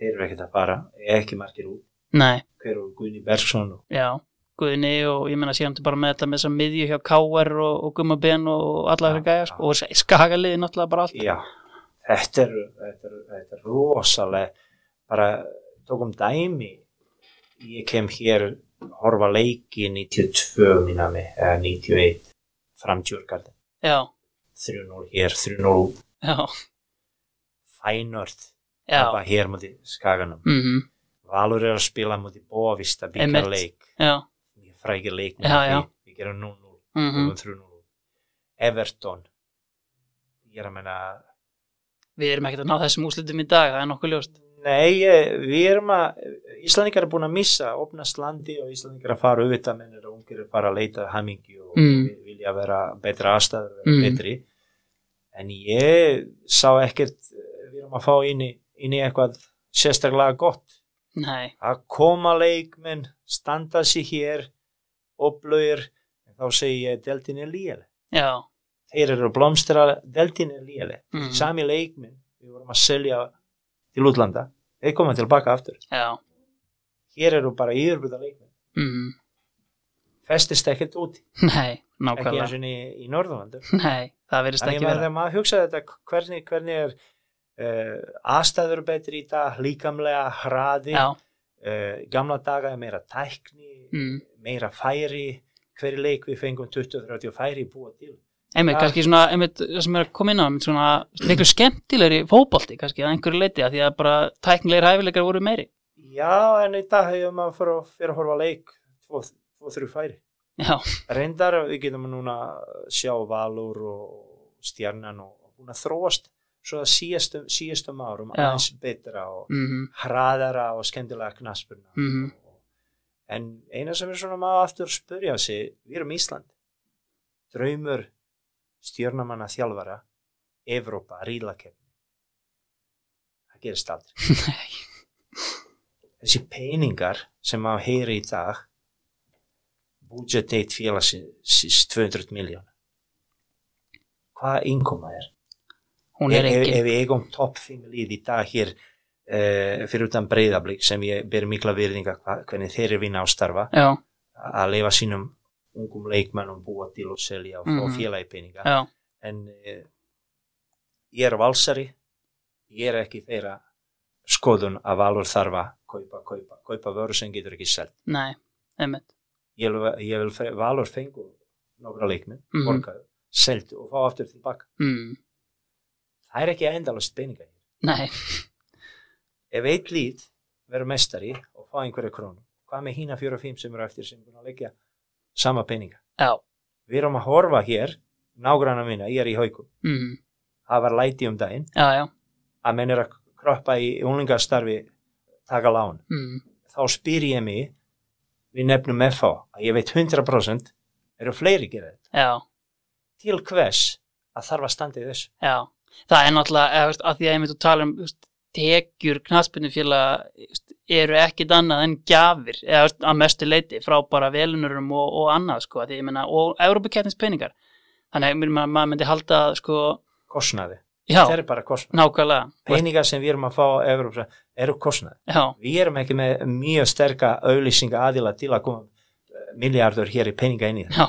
B: þeir eru ekkert að fara, ekki margir út
A: nei,
B: hver og Guðni Bergsson og
A: já Guðni og ég menna síðan til bara með þetta með þess að miðju hjá K.R. og, og Gumma Ben og alla þessar
B: Já,
A: gæja, sko, og skagaliði náttúrulega bara allt,
B: já, þetta er, þetta er, þetta er rosalega bara tókum dæmi ég kem hér horfa leiki 92 minna mig, eða 91 framtjörgarði,
A: já,
B: 3-0 hér 3-0 út,
A: já,
B: fænört
A: já
B: bara hér mútið skaganum
A: mhm,
B: Valur er að spila mútið bóavista
A: Einmitt.
B: byggarleik,
A: já,
B: ég frækir leik
A: Já, já.
B: við gerum 0-0
A: mhm
B: mm. 3-0 Everton ég er að menna
A: við erum ekkert að ná þessum úslitum í dag, það er nokkuð ljóst
B: nei, eh, við erum að Íslandingar er búin að missa, opnast landi og Íslandingar að fara auðvitað menn er að ungir að fara að leita hamingi og
A: Mm.
B: vi- vilja vera betra aðstæður, vera
A: Mm.
B: betri en ég sá ekkert eh, við erum að fá inn í, inn í eitthvað sérstaklega gott
A: nei,
B: að koma leikmenn standa sér hér upplögir, þá segi ég deltin er líðan
A: já,
B: þeir eru að blómstra deltin er léleg
A: Mhm.
B: sami leikminn við vorum að selja til útlanda þeir koma tilbaka aftur
A: já
B: hér eru bara yfirbúta leikminn
A: mhm
B: festist ekkert út
A: Nei,
B: ekki eins
A: nákvæmlega.
B: og niður í Norðurlandu
A: Nei, það verðist
B: þannig
A: ekki
B: að
A: vera.
B: þegar maður hugsa þetta hvernig, hvernig er uh, aðstæður betri í dag líkamlega hraði
A: Já,
B: uh, gamla daga er meira tækni
A: mm.
B: meira færi hverju leik við fengum 20-30 færi búa til
A: einmitt,
B: Já.
A: kannski svona, einmitt, það sem er að koma inn á, einmitt svona, miklu skemmtilegri fótbolti, kannski, að einhverju leiti, að því að bara tæknilegir hæfileikar voru meiri.
B: já en í dag hefur maður fyrir að, fyrir að horfa á leik 2-3 færi
A: Já,
B: reyndar við getum núna sjá Valur og Stjarnan og og búin að þróast svo að síðastum, síðastum árum
A: Já.
B: aðeins betra og
A: mhm,
B: hraðara og skemmtilega knaspurna
A: Mhm.
B: en eina sem er svona maður aftur spurja sig, við erum Ísland draumur stjarnamanna þjálfara Evrópa, ríðlakepp það gerist aldrei
A: nei,
B: þessi peningar sem maður heyri í dag budget eitt félagsins 200 miljón hvað inkoma er?
A: hún er
B: ef, ef-
A: engin.
B: ef við eigum topp 5 líð í dag hér uh, fyrir utan breyðablík sem ég ber mikla virðinga hva- hvernig þeir eru vinna á starfa
A: Já,
B: að leifa sínum ungum leikmennum búa til og selja og fá
A: Mhm.
B: félagi peninga
A: já,
B: en uh, ég er valsari ég er ekki þeirra skoðun að valur þarf að kaupa, kaupa, kaupa vöru sem getur ekki selt
A: nei, einmitt.
B: ég vil, ég vil fe- valur fengu nokkra leikminn,
A: Mhm.
B: borgaðu, seldu og fá aftur tilbaka
A: Mm.
B: það er ekki endalast peningar
A: Nei,
B: ef eitt lít verður mestari og fá einhverja krónu hvað með hína fjóra og fimm sem eru eftir sem búin að leggja sama peninga
A: já,
B: við erum að horfa hér, nágranna mína ég er í hauku,
A: mhm,
B: það var læti um daginn
A: já, já,
B: að menn er að kroppa í unlingastarfi taka lán,
A: mhm,
B: þá spyr ég mig við nefnum FH að ég veit 100% eru fleiri að gera þetta
A: já,
B: til hvers að þarf að standa í þessu
A: já. Það er náttúrulega, eða, veist, að því að einmitt þú tala um, þú veist, tekjur knaspunnifélaga eru ekkit annað en gjafir eða þú veist, að mestu leiti frá bara velunurum og, og annað sko, að því ég meina, og Európa-kettins peningar þannig að maður, maður myndi halda að, sko,
B: kostnaði,
A: já,
B: það er bara kostnaði
A: nákvæmlega
B: peninga sem við erum að fá á Evrópa eru kostnaði,
A: já,
B: við erum ekki með mjög sterka auðlýsinga aðila til að koma eh, milljarður hér í peninga inn í
A: já,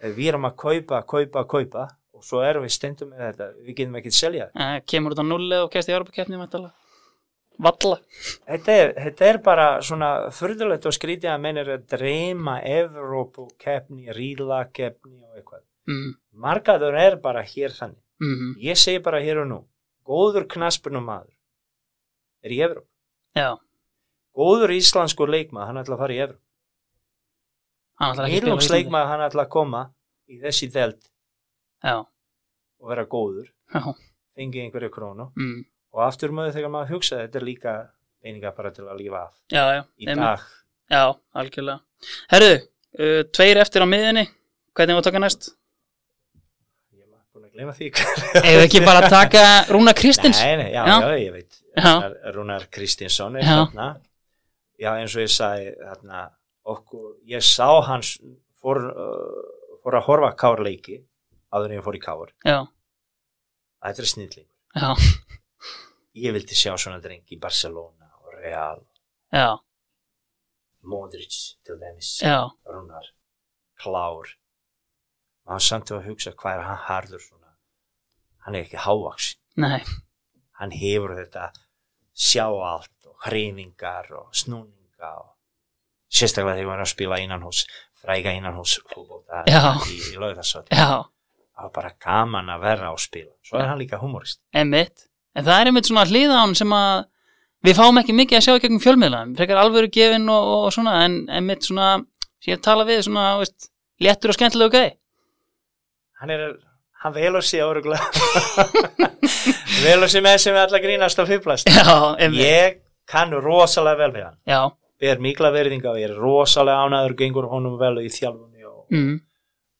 B: það við erum að kaupa, kaupa, kaupa og svo erum við stendum með þetta, við getum ekki að selja
A: e, kemur út á nulli og kemst í Európa-kettni valla,
B: Þetta er, þetta er bara svona fyrðulegt og skrítið að menn er að dreyma Evrópu keppni, ríla keppni og eitthvað.
A: mm,
B: Markaður er bara hér þannig.
A: mm,
B: Ég segi bara hér og nú, góður knaspunum maður er í Evrópu.
A: já
B: Góður íslenskur leikmaður, hann ætla að fara í Evrópu.
A: hann ætlar ekki að spila á
B: Írlungs
A: Íslandi.
B: leikmaður, hann ætla að koma í þessi delt
A: já,
B: og vera góður,
A: já,
B: fengi einhverju krónu
A: mm,
B: og aftur mögðu þegar maður hugsa þetta er líka peninga bara til að lífa af.
A: já, já
B: Í
A: einmitt.
B: dag
A: Já, algjörlega. Herðu, uh, tveir eftir á miðinni, hvernig var að taka næst?
B: Ég er búin að gleyma því.
A: Ef ekki bara að taka Rúna Kristins?
B: Nei, nei, já,
A: Já.
B: já, ég veit.
A: Já.
B: Rúnar, Rúnar Kristinsson er
A: Já.
B: þarna. Já, eins og ég sagði þarna, okkur, ég sá hans, fór, uh, fór að horfa kárleiki, áður en ég fór í kár.
A: Já,
B: Þetta er snilling.
A: já,
B: Ég vildi sjá svona drengi í Barcelona og Real,
A: já,
B: Modric til dæmis,
A: já,
B: Rúnar, Klár. Maður samt að hugsa hvað er hann harður svona. Hann er ekki hávaks.
A: nei,
B: hann hefur þetta sjá allt og hreiningar og snúninga og sérstaklega þegar hann er að spila innanhús fræga innanhús fótbolta
A: Já.
B: í, í laugasöld
A: já,
B: það var bara gaman að vera á spila svo er hann líka humorist
A: einmitt. En það er einmitt svona hliða á hann sem að við fáum ekki mikið að sjá í gegnum fjölmiðlaðum, frekar alvöru gefin og, og, og svona, en einmitt svona, sem ég tala við, svona, þú veist, léttur og skemmtilegu gæði.
B: hann er hann velur sig áruglega velur sig með sem við allar grínast og fýblast
A: Já, einmitt,
B: ég kann rosalega vel við hann
A: já,
B: ber mikla verðinga og ég er rosalega ánæður gengur honum vel í þjálfunni og
A: mm,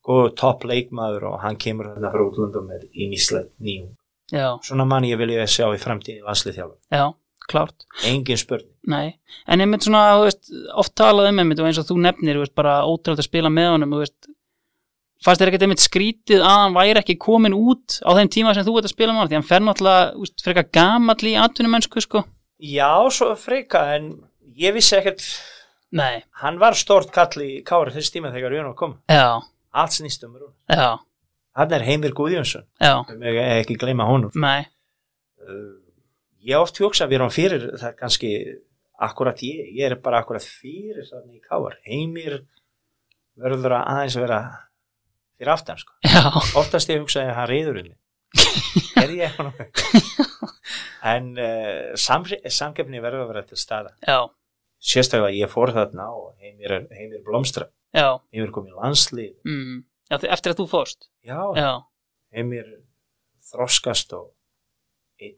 B: góður topp leikmaður og hann kemur þarna frá útlöndum með ímislegt nýjum
A: já,
B: svona mann ég vilja sjá í framtíðin landslýþjálfur,
A: já, klárt.
B: engin spurning
A: Nei, en einmitt svona, þú veist, oft talað um einmitt og eins og þú nefnir, þú veist, bara ótrúlega að spila með honum, þú veist, fannst þér ekkert einmitt skrítið að hann væri ekki komin út á þeim tíma sem þú ert að spila með hann, því hann fer náttúrulega, þú veist, frekar gamall í atvinnumennsku, sko.
B: já, svo freka, en ég vissi ekkert
A: Nei,
B: hann var stort kall í Kári þess tíma þegar Jón kom,
A: já,
B: allt snýst um rún
A: já,
B: hann er Heimir Guðjónsson,
A: já,
B: við megum ekki gleyma honum
A: nei,
B: uh, ég oft hugsa við erum fyrir það er kannski akkurat ég, ég er bara akkurat fyrir þannig í Kári, Heimir verður að aðeins að vera fyrir aftan sko
A: já,
B: oftast ég hugsaði að hann reyður um mig er ég eitthvað nokkuð en uh, samri- samkeppni verður að vera til staða
A: já,
B: sérstaklega ég fór þarna og heimir, er- heimir blómstra
A: já,
B: heimir kom í landslið
A: mm, já, því- eftir að þú fórst,
B: já,
A: já,
B: heimir þroskast og einn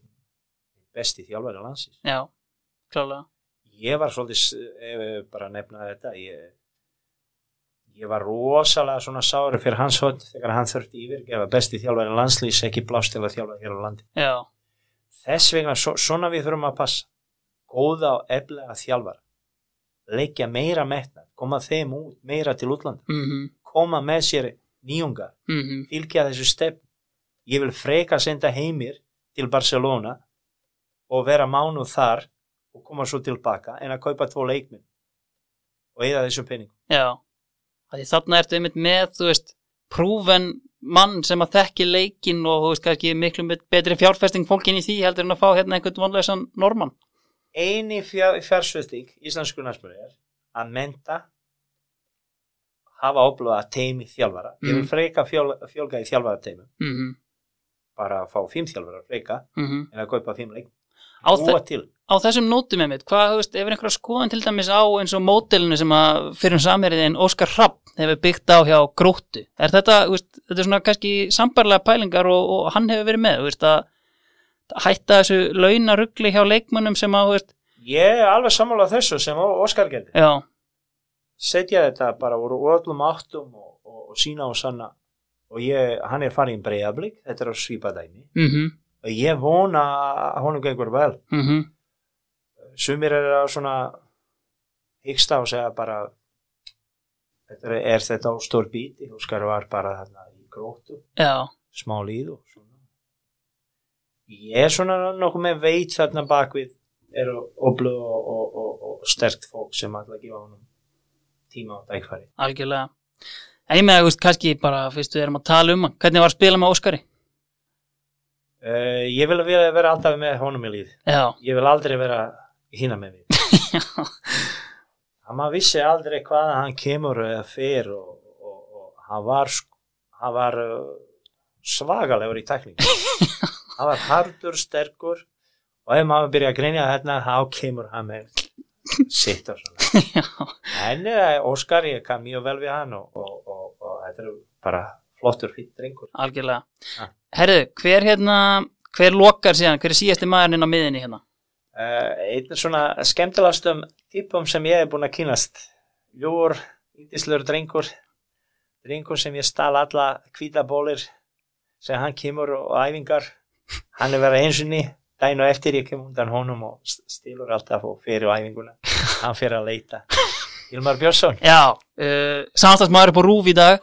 B: besti þjálfari landsins
A: já, klálega,
B: ég var svolítið s- ef ég bara nefna þetta ég, ég var rosalega svona sári fyrir hans hot þegar hann þurfti yfirgefa besti þjálfari landslís ekki blástila þjálfari hér á landi
A: já,
B: þess vegna svo, svona við þurfum að passa góða og eflega þjálfara leggja meira metna koma þeim út meira til útlanda
A: mhm,
B: koma með sér nýjungar
A: mhm,
B: fylgja þessu stefn ég vil freka senda heimir til Barcelona og vera mánu þar og koma svo tilbaka en að kaupa tvo leikminn og eða þessum penning
A: já, að því þarna ertu einmitt með, þú veist, prúven mann sem að þekki leikinn og þú veist kannski miklu bet- betri fjárfesting fólkin í því heldur en að fá hérna einhvern vonleysan normann.
B: eini fjársvölding íslensku næstmjöri er að menta hafa óblóða teimi þjálfara ég vil
A: Mm.
B: freka fjól, fjólga í þjálfara teimum
A: Mhm,
B: bara að fá fimm þjálfur að freyka
A: mhm.
B: en að kaupa fimm leik
A: Á
B: búa til
A: Á þessum nótum einmitt, hvað, þú veist, ef er einhverja skoðan til dæmis á eins og mótelinu sem að fyrir um samverðin Óskar Rapp hefur byggt á hjá gróttu, er þetta, þú veist, þetta er svona kannski sambarlega pælingar og, og hann hefur verið með, þú veist, að hætta þessu launarugli hjá leikmönnum sem að, þú veist,
B: ég er alveg sammála þessu sem Ó- Óskar gerði
A: já,
B: setja þetta bara úr öllum áttum og, og, og sína og sanna og ég, hann er farin breyðablík þetta er að svipa dæmi
A: mhm,
B: og ég vona að honum gengur vel
A: mhm,
B: sumir er að svona hyggsta og segja bara þetta er, er þetta á stór bíti Óskar var bara þarna í gróttu
A: já,
B: smá líð og svona ég er svona nokkuð með veit þarna bakvið er oblu og, og, og, og sterkt fólk sem ætla að gefa honum tíma og dækfæri
A: algjörlega. En ég með, þú veist, kannski bara, fyrst við erum að tala um hann, hvernig var að spila með Óskari?
B: uh, ég vil vera, vera alltaf með honum í líð
A: Já,
B: ég vil aldrei vera hína með við
A: já,
B: hann maður vissi aldrei hvaðan hann kemur eða fer og, og, og hann var sk- hann var uh, svagalegur í tekningu hann var hardur, sterkur og ef maður byrja að grinja þarna þá kemur hann með sitt og svona
A: já,
B: En eh, Óskar, ég kann mjög vel við hann og, og, og, og þetta er bara flottur fyrir drengur.
A: algjörlega.
B: Ja.
A: Herðu, hver hérna, hver lokar síðan, hver er síðasti maðurinn inn á miðinni hérna?
B: Uh, einn svona Eh, skemmtilegastum típum sem ég hef búin að kynast ljúur, índislegur drengur drengur sem ég stal alla hvítabólir sem hann kemur og æfingar hann er verið einsunni dæn og eftir ég kem undan honum og s- stilur alltaf og fyrir á æfinguna hann fyrir að leita Ilmar Björnsson,
A: Já, uh, samstagsmaður upp á rúf í dag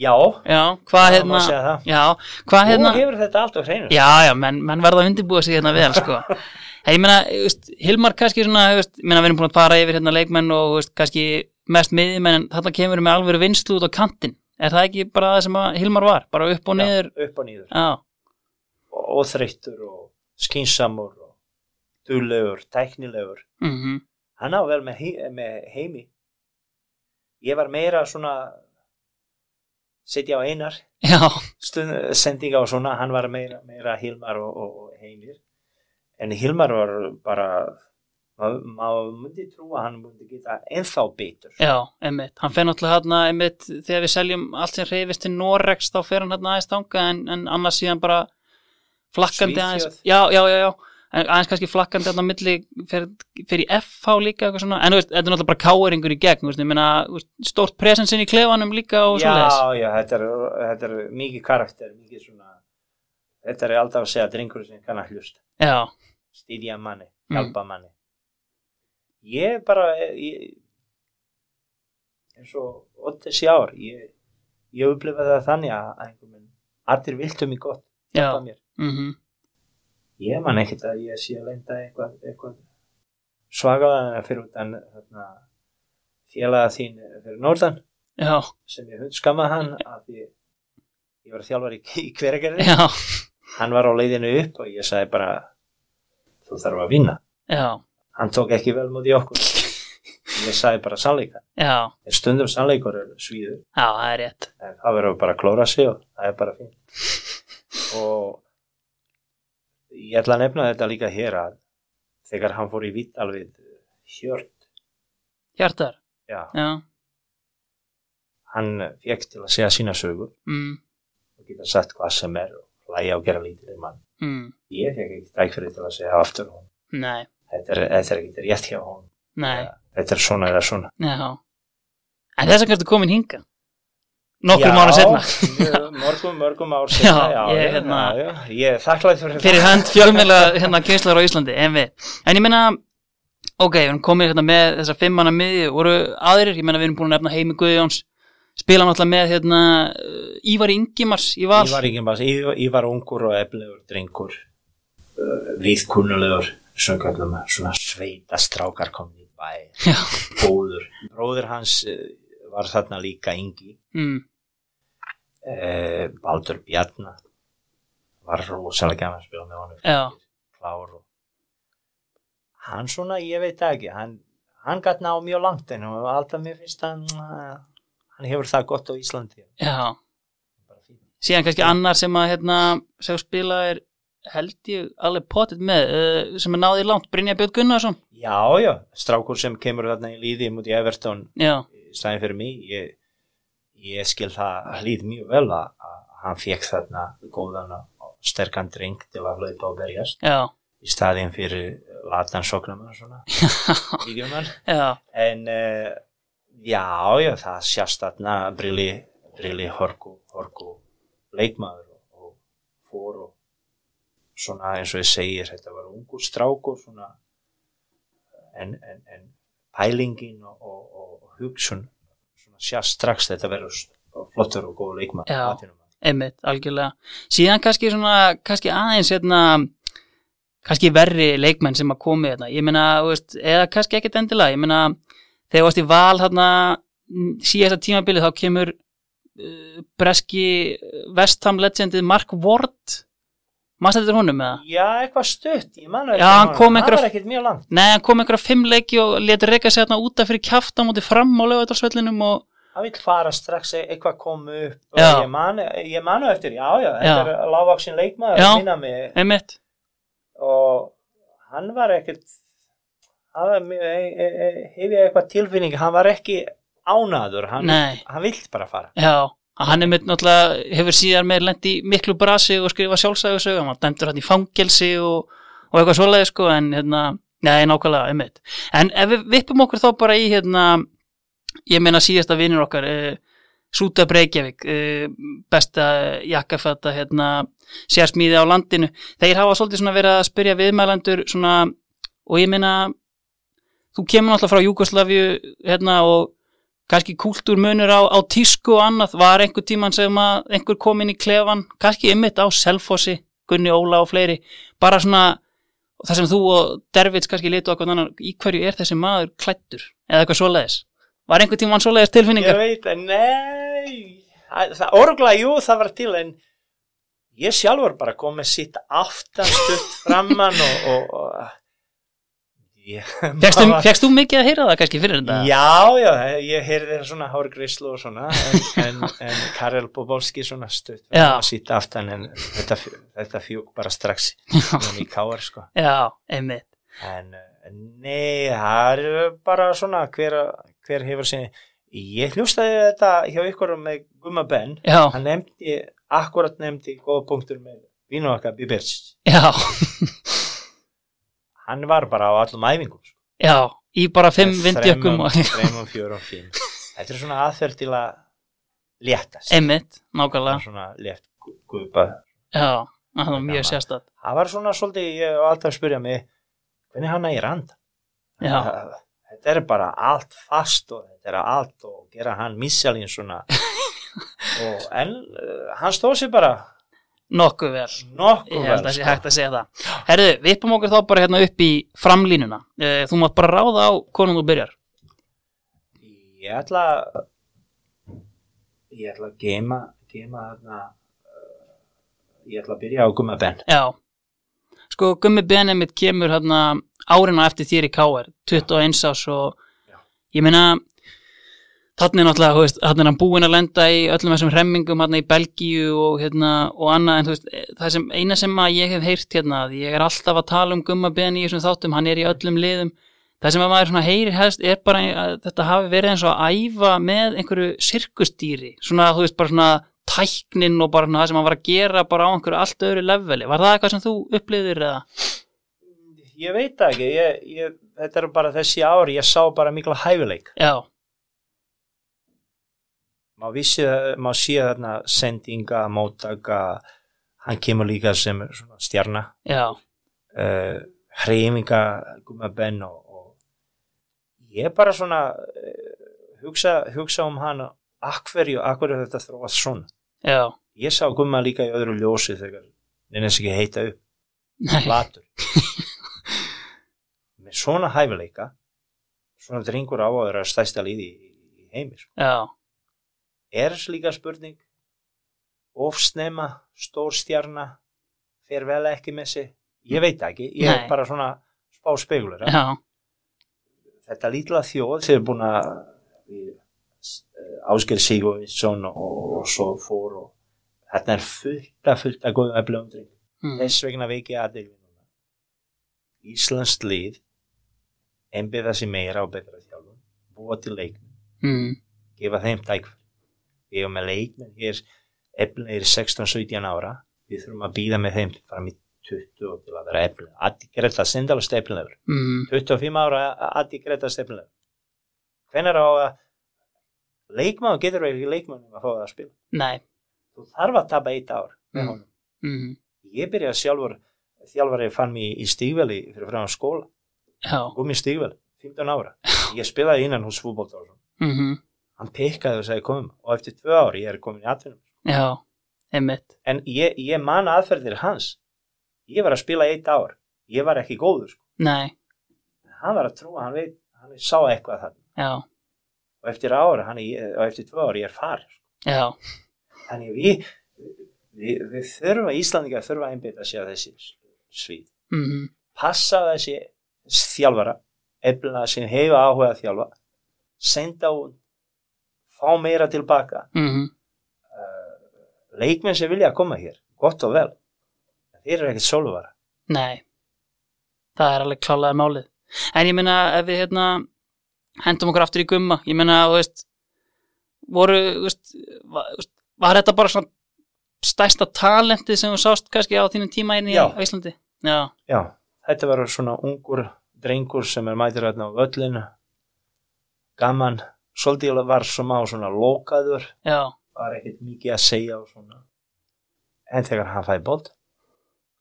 B: já
A: Já, hvað
B: það má
A: hérna
B: segja það.
A: Já, hvað hérna
B: Þú hefur þetta allt á hreinu
A: Já, já, menn, menn verða að undirbúa sig hérna vel sko. Hei, ég meina, þú veist, Hilmar kannski svona, þú veist, ég meina, við erum búin að fara yfir hérna leikmenn og þú veist, kannski mest miðjumenn en þarna kemur með alveg vinslu út á kantinn Er það ekki bara það sem að Hilmar var? Bara upp og niður?
B: upp og nýður
A: Já,
B: og, og þreyttur og skynsamur og duðlegur, tæknilegur
A: mhm,
B: hann á vel með, hei, með heimi ég var meira svona setja á einar
A: já,
B: stund, sendinga og svona hann var meira, meira Hilmar og, og, og heimir en Hilmar var bara maður maður myndi trú að hann myndi geta ennþá betur
A: já, einmitt Hann fer náttúrulega hérna, einmitt, þegar við seljum allt sem reyfist til Norex þá fer hann hérna aðeins þanga en, en annars síðan bara flakkandi aðeins
B: Svíþjóð.
A: Já, já, já, já En aðeins kannski flakkandi þarna á milli fer, fer í FH líka eitthvað svona, en þú veist, þetta er náttúrulega bara káeringur í gegn, þú veist, ég meina þú veist, stórt presensin í klefanum líka og
B: já,
A: svoleiðis
B: já, þetta er, þetta er mikið karakter mikið svona þetta er alltaf að segja drengur sem kann að hlusta
A: Já,
B: stýðja manni,
A: Mm.
B: hjálpa manni ég bara ég, eins og 8 ár ég, ég upplifa það þannig að einhvern veginn, allir viltu mig gott
A: já,
B: hjálpa mér,
A: mhm
B: ég man ekkert að ég sé að lenda eitthvað, eitthvað svagaðan fyrir utan þarna, félaga þín fyrir norðan
A: já,
B: sem ég hundskamma hann af því ég var þjálfar í, í hveragerði
A: já,
B: hann var á leiðinu upp og ég sagði bara þú þarf að vinna
A: já,
B: hann tók ekki vel móti okkur ég sagði bara sannleika
A: já,
B: en stundum sannleikur er svíður
A: já, það er rétt
B: en það verður bara að klóra sig og það er bara fín og ég ætla að nefna þetta líka hér að þegar hann fór í vitt alveg hjört
A: Hjartar,
B: já,
A: já,
B: hann fekk til að segja sína sögu
A: mm,
B: og geta sagt hvað sem er og hlæja og gera lítið um hann
A: mm,
B: ég fekk ekki tækfyrir til að segja aftur hún
A: nei,
B: þetta er, þetta er ekki rétt hjá hún
A: nei
B: þetta er svona eða svona
A: Já. En þess að kannski komin hinga. Nokkrum ára setna.
B: mjög- mörgum, mörgum ár setna
A: Já,
B: já,
A: ég,
B: já,
A: hérna,
B: já, já, ég er þakklæð fyrir,
A: Fyrir hönd fjölmjöla hérna kynslar á Íslandi, en við. En ég meina, ok, við erum komin hérna með þessa fimmana miði, voru aðrir, ég meina við erum búin að nefna Heimi Guðjóns, spila náttúrulega með hérna eh, Ívar Ingimars í val.
B: það ég var, ekki, bara- ég, ég var ungur og eflegur drengur uh, viðkunnulegur söngallum, svona sveita strákar komin í bæ
A: Já.
B: bróður, bróður hans eh, var þarna líka yngi
A: Mm,
B: uh, Baldur Bjarna var rosalega gaman að spila með honum
A: já,
B: klár og hann svona, ég veit það ekki hann, hann gætt ná mjög langt en hann var alltaf mér finnst hann uh, hann hefur það gott á Íslandi
A: já.
B: Bara fínt.
A: Síðan kannski annar sem að hérna, sem spila er held ég alveg potið með, eh, sem er náðið langt, Brynja Björn Gunnarsson.
B: já, já, strákur sem kemur þarna í líði mútið Everton
A: Já,
B: í staðin fyrir mig ég, ég skil það hlýð mjög vel að, að hann fekk þarna góðan og sterkan dreng til að hlaupa og berjast
A: já,
B: í staðin fyrir latan sóknumann svona, vídeomann
A: já,
B: en uh, já, já, það sjást þarna brilli, brilli horku, horku leikmaður og, og fór og svona eins og ég segir þetta var ungur strákur svona en, en, en pælingin og, og, og, og hugsun svona sjást strax þetta verður s- flottur og góð leikmaður
A: Já.
B: atvinnumaður.
A: einmitt, algjörlega síðan kannski svona, kannski aðeins hérna, kannski verri leikmenn sem að komi hérna, ég meina þú veist, eða kannski ekkert endilega, ég meina þegar þú varst í val hérna síðasta tímabilið þá kemur uh, breski vestham legendið Mark Ward maður stættir honum með það?
B: já, eitthvað stutt, ég manna
A: Já, hann kom einhverja-
B: var ekkert mjög langt
A: Nei, hann kom einhverja fimm leiki og letur reyka sig hérna útaf fyrir kjafta mútið fram á lögutarsvellinum og
B: hann vill fara strax e- eitthvað kom upp
A: Já.
B: og ég manu, ég manu eftir, já, já, þetta
A: Já.
B: er lágvaksin leikmaður
A: Já.
B: að minna mig
A: einmitt,
B: og hann var ekkert hann var mjög- e- e- e- hef ég eitthvað tilfinning, hann var ekki ánaður, hann,
A: nei
B: hann vill bara fara
A: Já, hann er mitt náttúrulega hefur síðan meir lent í miklu brasi og skrifa sjálfsæðusög, hann var dæmdur hann í fangelsi og, og eitthvað svoleiði sko, en hérna, Nei, nákvæmlega, einmitt. En ef við vippum okkur þá bara í hérna, ég meina síðasta vinnur okkar, uh, Súta Breykjavík, uh, besta jakkafata, hérna, sérsmíði á landinu. Þeir hafa svolítið svona verið að spyrja viðmælendur svona, og ég meina, þú kemur náttúrulega frá Júkoslavíu hérna, og kannski kultúrmunur á, á tísku og annað, var einhver tíman sem að einhver kom inn í klefan, kannski einmitt á Selfossi, Gunni Óla og fleiri, bara svona og það sem þú og Dervits kannski litu okkur annan, í hverju er þessi maður klættur eða eitthvað svoleiðis var einhvern tímann svoleiðis
B: Ég
A: tilfinningar
B: veit, en nei, það, það orgla, jú, það var til, en ég sjálfur bara kom með sitt aftan stutt framann og, og, og ég,
A: Fékkstu-
B: maður-
A: fékkst þú mikið að heyra það kannski fyrir þetta
B: Já, já, ég heyrði svona hárgrislu og svona, en, en, en Karel Bobovski svona stutt
A: Já.
B: framan og sitt aftan, en þetta, fj- þetta fjúk bara strax í káar, sko.
A: já, einmitt
B: En eh, nei, það er bara svona hver, hver hefur sinni. Ég hljóstaði þetta hjá ykkur með Gumma Ben.
A: já,
B: Hann nefndi, akkurat nefndi góða punktur með vinu okkar Bibic.
A: já,
B: Hann var bara á allum æfingum. sko.
A: já í bara fimm
B: Með
A: vindjökkum og,
B: þremum- Þremum, fjórum, fimm. Þetta er svona aðferð til að léttast.
A: einmitt,
B: Það er
A: nákvæmlega
B: Svona létt gu- gupa.
A: já, það var mjög
B: Gaman.
A: sérstætt
B: Það var svona svolítið, ég var alltaf að spyrja mig, hvernig hann nægir andan?
A: já,
B: Það- þetta er bara allt fast og þetta er allt og gera hann missalinn svona og en uh, hann stóð sér bara
A: nokkuð vel
B: nokkuð
A: Ég held að
B: vel
A: sé
B: sko.
A: hægt að segja það Herðu, við uppum okkur þá bara hérna upp í framlínuna Eh, Þú mátt bara ráða á konum þú byrjar
B: ég ætla ég ætla að geima geima þarna uh, ég ætla að byrja á gumma Ben
A: Já, sko Gummi Benemitt kemur hérna árina eftir þér í K.R. 21 ás og
B: Já.
A: ég meina þannig er náttúrulega, þú veist, þannig er hann búinn að lenda í öllum þessum hremmingum hérna í Belgíu og hérna og annað en þú veist, það sem eina sem að ég hef heyrt hérna, að ég er alltaf að tala um Gumma Ben í þessum þáttum, hann er í öllum liðum það sem að maður svona heyrir helst er bara eh, að þetta hafi verið eins og að æfa með einhverju sirkustýri svona þú veist bara svona tæknin og bara svona það sem hann var að gera bara á einhverju allt öðru leveli var það eitthvað sem þú upplýðir eða?
B: ég veit það ekki ég, ég, þetta er bara þessi ár ég sá bara mikla hæfileik
A: Já,
B: maður vissi maður sé þarna sendinga, mótaka hann kemur líka sem svona stjarna
A: já,
B: uh, hreyfinga Guma Ben og, og ég bara svona uh, hugsa, hugsa um hann akkverju, akkverju þetta þróast svona
A: já
B: ég sá Guma líka í öðru ljósi þegar neina sem ekki að heita upp,
A: Nei,
B: latur með svona hæfileika svona drengur á að vera stæsta líði í, í heimi sko.
A: já,
B: er slíka spurning ofsnema, stórstjarna fer vel ekki með sig ég veit það ekki, ég
A: Nei.
B: er bara svona spá spekulera
A: já,
B: þetta lítla þjóð sem er búin að Ásker Sigurvinsson og, og svo fór og þetta er fullt að fullt að góðum eflum dreng
A: mm,
B: þess vegna veiki aðeins Íslands lið einbyrða sér meira og betra þjálfum búa til leikmenn,
A: mm,
B: gefa þeim tækfæri við erum með leikmenn hér eflinir 16-17 ára við þurfum að býða með þeim fram í 20 og til að vera eflinir Addi Greta, sendalast eflinir
A: mm,
B: 25 ára Adi Greta Stefnilega hvenær á að leikmann getur verið leikmann um að fá það að spila
A: nei
B: þú þarf að tapa eitt ár með
A: Mm.
B: honum.
A: mm,
B: ég byrjaði sjálfur þjálfari fann mér í stígveli fyrir frá skóla
A: Já,
B: góð mér stígveli, 15 ára ég spilaði innan hús fútbolta
A: mhm,
B: hann pekkaði og sagði komum og eftir tvö ár ég er komin í atvinnum
A: já, einmitt
B: en ég, ég man aðferðir hans ég var að spila eitt ár ég var ekki góður sko.
A: Nei,
B: hann var að trúa, hann veit, hann sá eitthvað þarna
A: já,
B: og eftir ára, hann, er- og eftir tvö ára ég er farin
A: já,
B: Þannig við, við, við þurfa, Íslandingar þurfa að einbytta sér að þessi svið.
A: mhm,
B: Passa þessi þjálfara, efla sem hefur áhuga að þjálfa, senda út, fá meira tilbaka,
A: mhm,
B: leikmenn sem vilja að koma hér, gott og vel. Þeir eru ekkert sóluvara.
A: nei Það er alveg klálega málið En ég meina ef við hérna hendum okkur aftur í gumma ég meina, þú veist voru, þú veist, va, þú veist var þetta bara svona stærsta talentið sem þú sást kannski á þínum tíma inn í
B: Já.
A: á Íslandi? Já,
B: Já, þetta var svona ungur drengur sem er mætir hérna á völlinu gaman, svolítið var svo má svona lokaður
A: já,
B: var ekkert mikið að segja og svona en þegar hann fæði bolt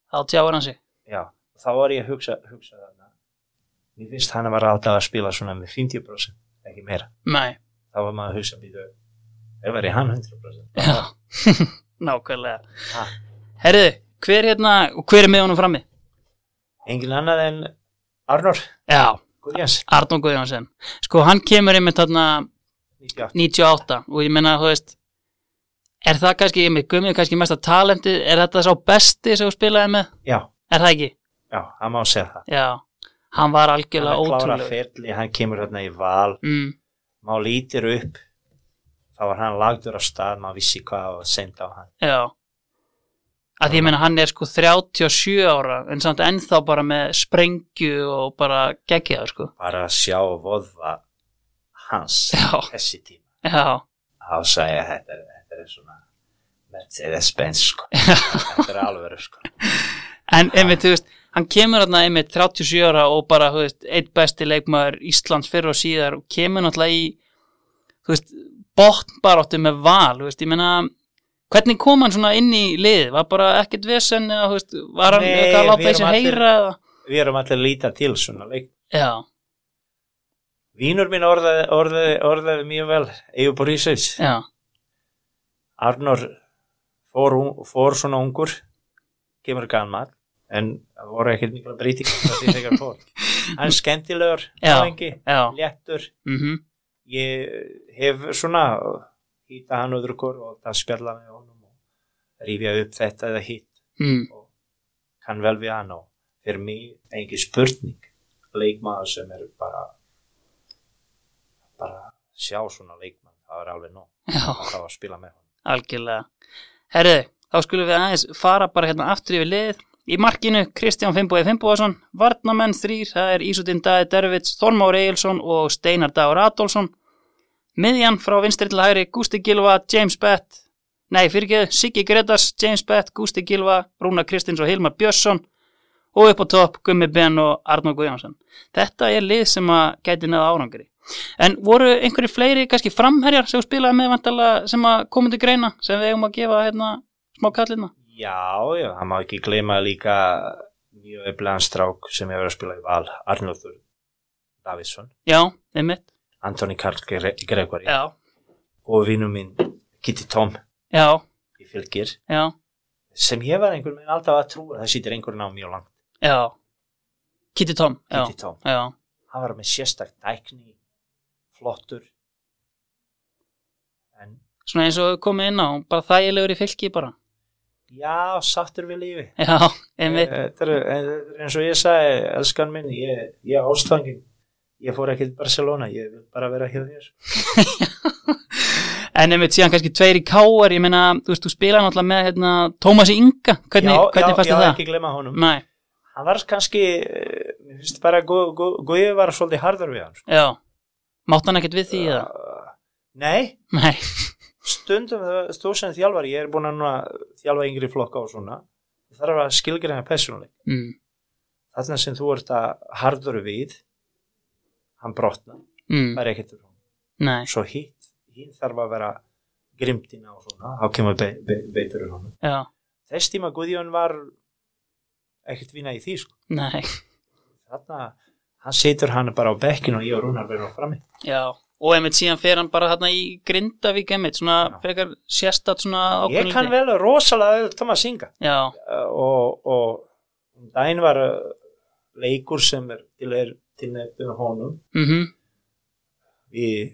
A: þá tjáir hann sig
B: já, þá var ég að hugsa, hugsa þarna ég finnst hann var alltaf að spila svona með 50% ekki meira,
A: nei,
B: þá var maður að hugsa býtu, ef var ég hann 100%
A: já nákvæmlega
B: Ha.
A: herriði, hver hérna og hver er með honum frammi?
B: engin annað en Arnór
A: já,
B: Guðjans,
A: Arnón Guðjónsson sko hann kemur einmitt þarna
B: 98
A: 98 og ég meina þú veist er það kannski, ég með Guðmið kannski mesta talenti er þetta sá besti sem þú spilaði með?
B: já,
A: er það ekki?
B: já, hann má segja það
A: já, hann var
B: hann
A: algjörlega
B: er klára
A: ótrúlega
B: ferli, hann kemur hérna í val
A: mm,
B: maður lítir upp þá var hann lagdur á stað maður vissi hvað var senda á hann
A: já að því ég meina hann er sko 37 ára en samt ennþá bara með sprengju og bara geggjaður sko
B: bara að sjá voðva hans
A: Já.
B: þessi tíma
A: já,
B: þá sagði ég þetta, er- þetta er svona Mercedes-Benz sko þetta er alveg sko
A: en einmitt þú veist hann kemur þarna einmitt 37 ára og bara þú veist, eitt besti leikmaður Íslands fyrir og síðar og kemur náttúrulega í þú veist, botnbaráttu með val, þú veist, ég meina hvernig kom hann svona inn í liðið var bara ekkert vesen eða, þú veist, var hann
B: Nei,
A: eitthvað að láta
B: við
A: þessi
B: erum allir-
A: heyra eða?
B: við erum allir að líta til svona leik
A: já,
B: vínur mín orðaði, orðaði, orðaði mjög vel Eyjur Borísins
A: já,
B: Arnur fór, un- fór svona ungur kemur gammal en það voru ekkert mikla breyting þegar hann fór hann er skemmtilegur
A: Já.
B: náðingi,
A: já
B: léttur
A: mhm,
B: ég hef svona hýta hann öðru kor og það spjalla með honum og rífja upp þetta eða hitt
A: mm,
B: kann vel við hann og fyrir mig engin spurning leikmaður sem er bara bara sjá svona leikmann það er alveg nóg
A: já
B: að fá að spila með hann
A: algjörlega herriði, þá skulum við aðeins fara bara hérna aftur yfir liðið í markinu Kristján Fimboði Fimboðason Varnamenn þrýr, það er Ísutinn Daði Dervits Þormár Egilson og Steinar Dagur Adolfsson miðjan frá vinstri til hægri Gústi Gilva, James Bett nei, fyrirgeðu, Siggi Gretars James Bett, Gústi Gilva, Rúna Kristins og Hilmar Björnsson og upp á topp Gummi Ben og Arnó Guðjónsson þetta er lið sem að gæti neða árangri En voru einhverju fleiri kannski framherjar sem þú spilaði með vantala sem að komum til greina sem við eigum að gefa hérna smá kallina?
B: já, já, hann má ekki gleyma líka mjög eflegan strák sem hefur að spila í val Arnóður Davidsson
A: Já, einmitt.
B: Antoni Karl Gre Gregori
A: Já,
B: og vinnu minn Kitty Tom
A: já,
B: í fylgir
A: já,
B: sem ég var einhvern veginn alltaf að trúa það sýtir einhvern á mjög langt
A: já. Kitty Tom, já,
B: Kitty Tom
A: já,
B: hann var með sérstak dækni flottur en
A: svona eins og við komið inn á, bara þægilegur í fylki bara.
B: já, sattur við lífi
A: Já, einmitt,
B: þetta er, þetta er eins og ég sagði elskan minn, ég, ég ástfangin ég fór ekki til Barcelona ég vil bara vera hjá þér
A: en einmitt síðan kannski tveir í káar, ég meina, þú veist, þú spilaði náttúrulega með hérna Tómasi Inga, hvernig,
B: já,
A: hvernig
B: já,
A: fannst
B: já,
A: þér það?
B: ekki glemma honum
A: Nei,
B: hann var kannski, eh, mér finnst bara Guði Gu, Gu, Guði var svolítið harður við hann sko.
A: já, mátt hann ekkert við því eða?
B: Uh, nei,
A: Nei,
B: stundum það- þú sem þjálfar, ég er búin að núna þjálfa yngri flokka og svona þarf að skilgreina persónuleg
A: mm,
B: þarna sem þú ert að harður við hann brotna, það
A: mm,
B: er ekkert rúm
A: nei,
B: svo hitt, hinn þarf að vera grimtina og svona, þá kemur be, be, beitur um hann.
A: já,
B: Þess tíma Guðjón var ekkert vinna í því sko,
A: nei.
B: þarna hann situr hann bara á bekkinu og ég og Rúnar verður á frammi.
A: Já, og einmitt síðan fer hann bara þarna í Grindavík einmitt, svona
B: Já.
A: frekar sérstætt svona ákveðin
B: Ég kann vel rosalega vel Thomas Inga
A: Já,
B: Uh, og, og um daginn var uh, leikur sem er til er til nefnum honum
A: mhm,
B: við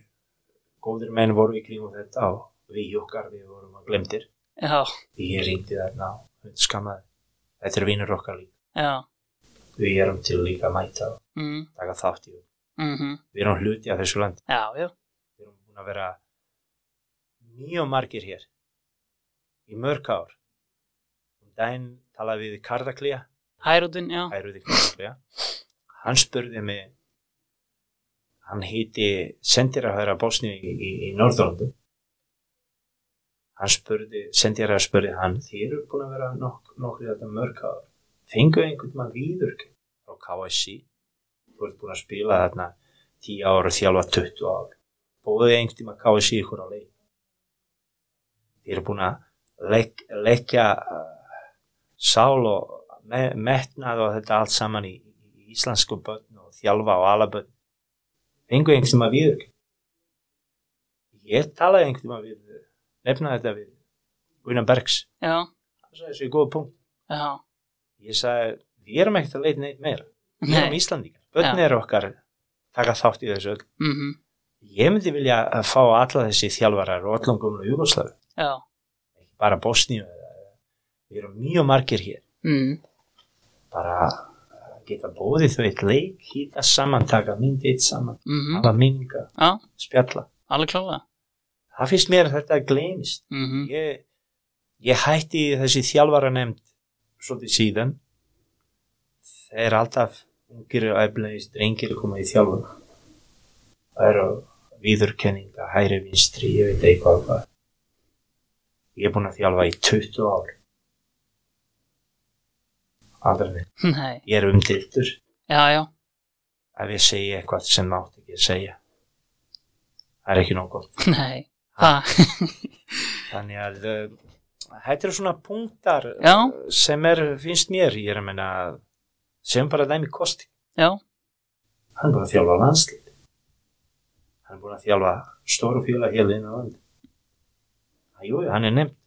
B: góðir menn voru í kringum þetta og við jokkar við vorum að glemdir
A: já,
B: ég ringdi þarna og skammaði þetta er vinnur okkar líka
A: já
B: við erum til líka að mæta og
A: mm,
B: taka þátt í og
A: mm
B: við erum hluti af þessu land
A: Já, já,
B: við erum búin að vera mjög margir hér í mörg ár um daginn talaði við Kardaklía
A: Hærútin, já,
B: hæruði Kardaklía hann spurði mig hann heiti sendir að höra Bosni í, í, í Norðurlandu hann spurði sendir að spurði hann þið eru búin að vera nok nokkrið þetta mörg ár fengu einhvern maður viður frá KSC þú ert búin að spila þarna 10 ára, þjálfa 20 ára bóðið einhvern tíma KSI ykkur á leik þeir eru búin að legg, leggja uh, sál og me, metnað og þetta allt saman í, í íslensku börn og þjálfa og alabörn fengu einhvern tíma við ég talaði einhvern tíma við nefnaði þetta við Gunnar Bergs
A: já,
B: það sagði þessu í góða punkt
A: já,
B: ég sagði, við erum ekkert að leita neitt meira við erum
A: nei,
B: Íslandingar, börn
A: Já.
B: eru okkar taka þátt í þessu öll
A: mhm,
B: ég myndi vilja að fá alla þessi þjálfarar og allan gömlu Júgoslavi
A: já,
B: ekki bara Bosníu við erum mjög margir hér
A: mhm,
B: bara að geta bóðið þau eitt leik hýta saman, taka mynd eitt saman
A: mhm,
B: hafa minninga,
A: já,
B: spjalla
A: alveg klálega,
B: það finnst mér að þetta gleymist
A: mhm,
B: ég, ég hætti þessi þjálfara nefnd svolítið síðan þeir alltaf ungir og eflegis drengir koma í þjálfun það eru viðurkenninga hæri vinstri, ég veit eitthvað og hvað ég er búin að þjálfa í 20 ár aldrei neitt.
A: nei,
B: ég er umdildur
A: já, já,
B: ef ég segi eitthvað sem mátt ekki að segja það er ekki nóg gott
A: nei, það,
B: Þannig að uh, þetta eru svona punktar uh,
A: Já.
B: sem er, finnst mér, ég er að menna sem bara dæmi kosti.
A: já,
B: Hann er búin að þjálfa landslið. Hann er búin að þjálfa stóru fjöla hér inn á land. Jú, jú, hann er nefnd.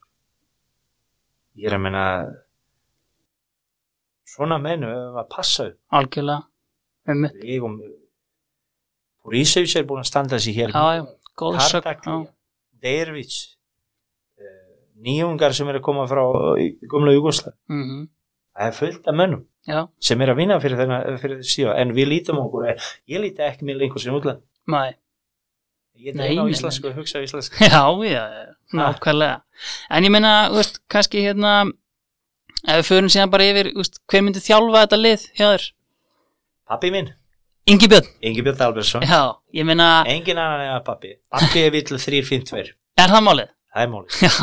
B: Ég er að menna svona menn um að passa upp.
A: algjörlega, um,
B: Ég um Borisevic er búin að standa sig hér.
A: já, já, góð sög, já,
B: Kartakli, Dervits, uh, nýjungar sem eru að koma frá eh, gömla Jugosla.
A: mhm,
B: Það er fullt af mönnum
A: já,
B: sem eru að vinna fyrir þennan fyrir síðan, en við lítum á okkur, eh, ég líti ekki mér lengur sem útland.
A: mæ,
B: Ég
A: Nei,
B: er á
A: nei,
B: íslensku og hugsa á íslensku.
A: Já, já, já, nákvæmlega En ég meina, þú veist, kannski hérna ef við förum síðan bara yfir þú veist, hver myndi þjálfa þetta lið hjá þér?
B: Pappi minn,
A: Ingi Björn,
B: Ingi Björn Albersson,
A: já, ég meina
B: engin annan eða pappi. Pappi er vill 352,
A: er það málið?
B: það er mólið.
A: Já,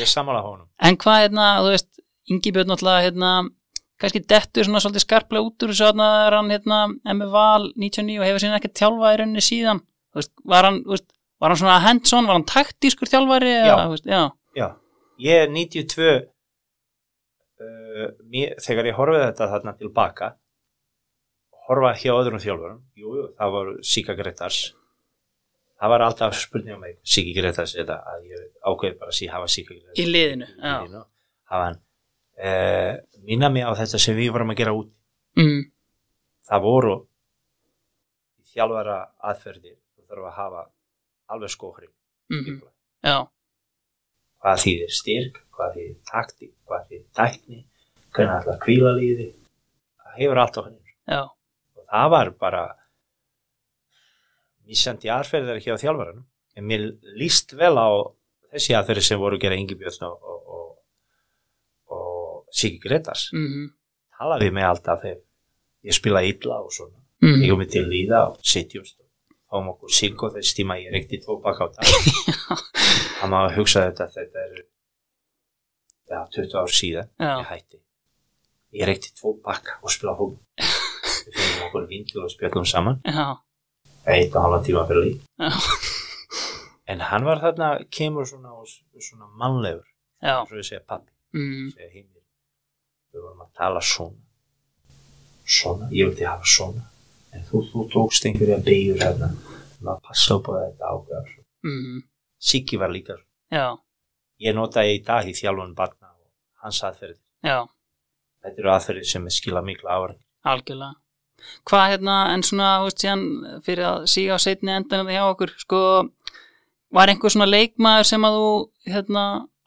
B: Ég er sammála honum.
A: en hvað hérna, þú veist Ingi Björn náttúrulega, hérna kannski dettur svona svolítið skarplega út úr þessu hérna er hann hérna með val 99 og hefur síðan ekki þjálfað í rauninni síðan þú veist, var hann, þú veist, var hann svona hands-on, var hann taktískur þjálfari
B: Já.
A: eða, þú veist, já,
B: Já, ég er 92 uh, mér, þegar ég horfið þetta þarna tilbaka horfa hjá öðrum þjálfurum jú, jú, það var Sika Gretars það var alltaf spurning um eitthvað Siki Gretars eða að ég ákveði bara að sí, hafa
A: í
B: Sika Gretars
A: liðinu já,
B: hafa hann uh, minna mig á þetta sem við vorum að gera út
A: mm,
B: það voru þjálfara aðferði þú þarf að hafa alveg skóhri
A: mm já,
B: hvað þýðir styrk, hvað þýðir taktík, hvað þýðir tækni, hvernig ætla að kvíla líði, það hefur allt á henni.
A: já,
B: Og það var bara missandi aðferðar hjá þjálfaranum, en mér líst vel á þessi aðferði sem voru að gera Ingi Björn og, og, og, og Siki Gretars.
A: mhm
B: Talaði með alltaf þegar ég spila illa og svona, ég
A: Mm.
B: komið til líða og sitjumst og fáum okkur silko þess tíma ég reykti tvo baka á dag það má hugsa þetta þetta er ja, 20 ár síðan ég
A: Já,
B: hætti ég reykti tvo baka og spila fólk við finnum okkur vindil og spjöllum saman
A: já,
B: eitt og halva tíma fyrir lík
A: Já.
B: en hann var þarna kemur svona, og s- svona mannlegur
A: já,
B: eins og ég segja pappi
A: mm,
B: segja heimir við vorum að tala svona svona, ég vildi hafa svona en þú, þú tókst einhverja beigur hérna, maður passa upp á þetta ákveðar
A: mm,
B: Siggi var líka, svona.
A: já,
B: ég notaði í dag í þjálfun barna og hans aðferði
A: já,
B: þetta eru aðferði sem er skila mikla ára
A: algjörlega. Hvað hérna, en svona, þú veist, síðan fyrir að síga á seinni endan hjá okkur, sko, var einhver svona leikmaður sem að þú, hérna,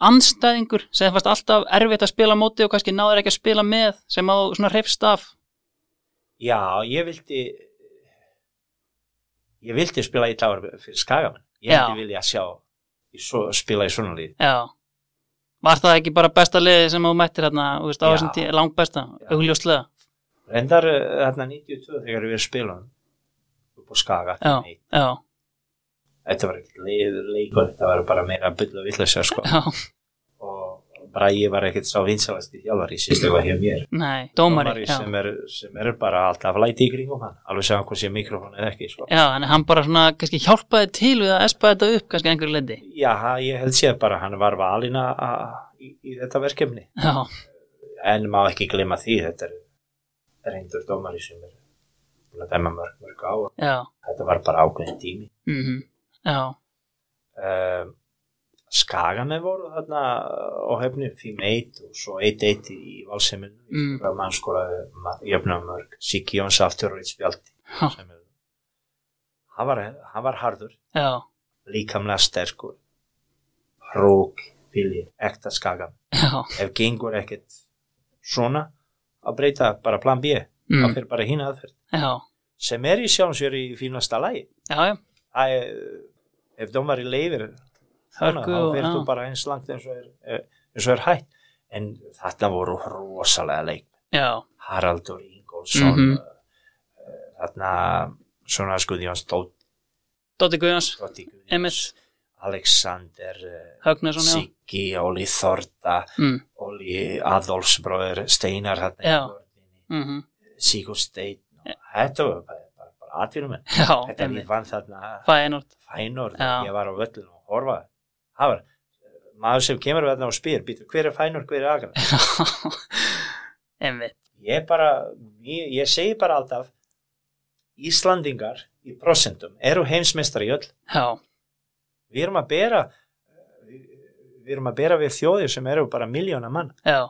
A: anstæðingur sem fannst alltaf erfitt að spila á móti og kannski náður ekki að spila með sem að þú svona hrefst af?
B: já, ég vildi ég vildi spila í dag fyrir skagamann, ég
A: Já.
B: vildi vilja sjá í svo, spila í svona líð
A: Já. Var það ekki bara besta liðið sem að þú mættir hérna, þú veist, á
B: Já.
A: þessum tíu, langbesta,
B: Já.
A: augljóslega?
B: reyndar eh, þarna 92 þegar við spilum upp á skaga
A: Já.
B: nei,
A: Já,
B: þetta var ekki leikur, þetta var bara meira að bylla villisja sko
A: já,
B: og bara ég var ekkert sá vinsalasti þjálfari sérstaklega hjá mér
A: Nei, dómari, já.
B: sem, er, sem er bara alltaf læti í kringum hann alveg segja hvað sé mikrofón eða ekki sko.
A: Já, þannig að hann bara svona, kannski hjálpaði til við að espa þetta upp, kannski að einhverju leiti.
B: já, ha- ég held séð bara hann var valin að- að- í, í þetta verkefni
A: Já,
B: en má ekki gleyma því þetta er reyndur dómari sem er búin að dæma mörg, mörg á
A: já,
B: þetta var bara ákveðin tími
A: mhm, já,
B: um, Skagamenn voru þarna uh, á hefni 5-1 og svo 1-1 í valseiminu
A: Mm.
B: mm. mann skoraði ma- jöfnumörk Siki Jóns aftur og eitt spjaldi
A: Ha.
B: sem er- hann var, hann var harður
A: já,
B: líkamlega sterkur hrók, vilji, ekta skagam
A: já,
B: ef gengur ekkert svona að breyta bara plan B það
A: mm,
B: fyrir bara hína aðferð
A: já,
B: sem er í sjálfum sér í fínasta lagi
A: já, já,
B: Það er, ef dómari leifir svona,
A: Hörku
B: þá
A: og-
B: verður
A: já.
B: þú bara eins langt eins og er, eh, eins og er hætt en þetta voru rosalega leik
A: já,
B: Haraldur Ingolson mm
A: Mhm.
B: þarna svona skuðjóns Dótti
A: Dóti Guðjóns,
B: Guðjóns,
A: Emmett,
B: Alexander eh,
A: Högnason, já,
B: Siggi, Óli Þorda
A: mm,
B: Óli Adolfsbróður Steinar þarna í
A: Já.
B: vörninni,
A: mhm,
B: Sigurd Steinn þetta var bara, bara, bara atvinnum
A: já,
B: þetta er
A: Emmett,
B: lífann þarna
A: Fæinort,
B: fænor
A: Já.
B: þegar ég var á völlinu og horfaði það var maður sem kemur við þarna og spyr býtu, hver er fænor, hver er agra
A: Emmett,
B: ég bara, ég, ég segi bara alltaf Íslandingar í prosentum eru heimsmeistar í öll
A: já,
B: við erum að bera við, við erum að bera við þjóðir sem eru bara miljóna mann
A: já,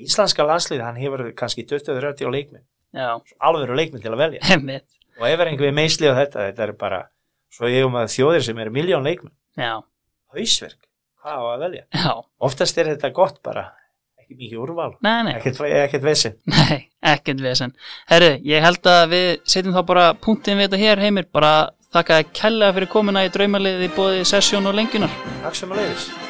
B: Íslandska landslið, hann hefur kannski 20-30 leikminn,
A: já,
B: alveg leikminn til að velja
A: Emmett,
B: og ef er einhver meisli á þetta, þetta er bara svo ég um að þjóðir sem eru miljón leikminn
A: já,
B: hausverk, hvað á að velja
A: já,
B: oftast er þetta gott bara ekki mikið úrval,
A: nei, nei,
B: ekkert, ekkert vesen
A: Nei, ekkert vesen. Herru, ég held að við setjum þá bara punktin við þetta hér heimir, bara þakka að kella fyrir komuna í draumalið í bóði sessjón og lengjunar.
B: takk sem að leiðis